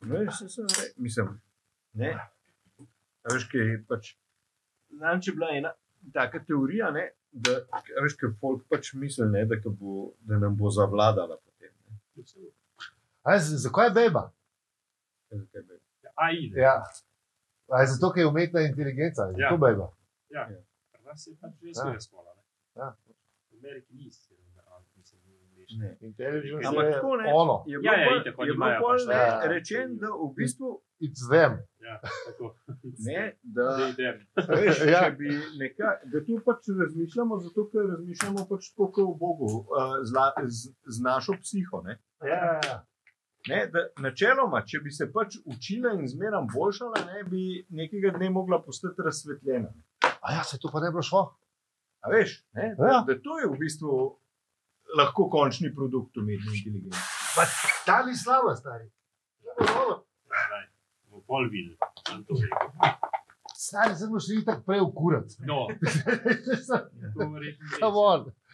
Speaker 3: Veš, No, se sem re- mislim. Ne. A Veš, kaj je pač. Znam, če je bila ena taka teorija, ne, da a veš, ker folk pač misli, ne, da, ke bo, da nam bo zavladala potem. Ne.
Speaker 1: Aj, z- zakaj je beba?
Speaker 3: Kaj zakaj bi?
Speaker 2: AI. ne.
Speaker 1: Ja. Aj, zato, ker je umetna inteligenca, je
Speaker 2: Ja.
Speaker 1: to beba.
Speaker 2: Ja, pri nas je pač res
Speaker 3: Ah.
Speaker 1: Ja.
Speaker 2: ja. smola. ne.
Speaker 1: Ja.
Speaker 2: V Ameriki ni sirena, ampak mislim, da je angleška.
Speaker 3: Ne.
Speaker 1: Inteligenca
Speaker 3: Ampak
Speaker 1: je
Speaker 3: tako ne.
Speaker 1: ono,
Speaker 3: Je
Speaker 2: Ja, ja,
Speaker 3: pol-
Speaker 2: itak, oni
Speaker 3: je bilo
Speaker 2: imajo
Speaker 3: pol
Speaker 2: pač
Speaker 3: ne
Speaker 1: tako.
Speaker 3: rečeno, da v bistvu
Speaker 1: it's them.
Speaker 2: Ja, tako.
Speaker 3: ne, da,
Speaker 2: Zdaj idem.
Speaker 3: a veš,
Speaker 1: Ja.
Speaker 3: če bi neka, da tu pač razmišljamo, zato ker razmišljamo pač tako kot o Bogu, eh, z, la- z, z našo psiho. Ne.
Speaker 1: Ja, ja.
Speaker 3: Ne, da, načeloma, če bi se pač učila in zmeraj boljšala, ne bi nekega dne mogla postati razsvetljena.
Speaker 1: A ja, se to pa ne bi šlo.
Speaker 3: A veš, ne, da,
Speaker 1: Ja.
Speaker 3: ja. da to je v bistvu lahko končni produkt umetne inteligence.
Speaker 1: Ta ni slaba, stari. To bo dobro.
Speaker 2: V pol videl, sem to rekel.
Speaker 1: Stari, zdaj boš šli tako prej v kurat.
Speaker 2: No, to verjetno res.
Speaker 1: Come on.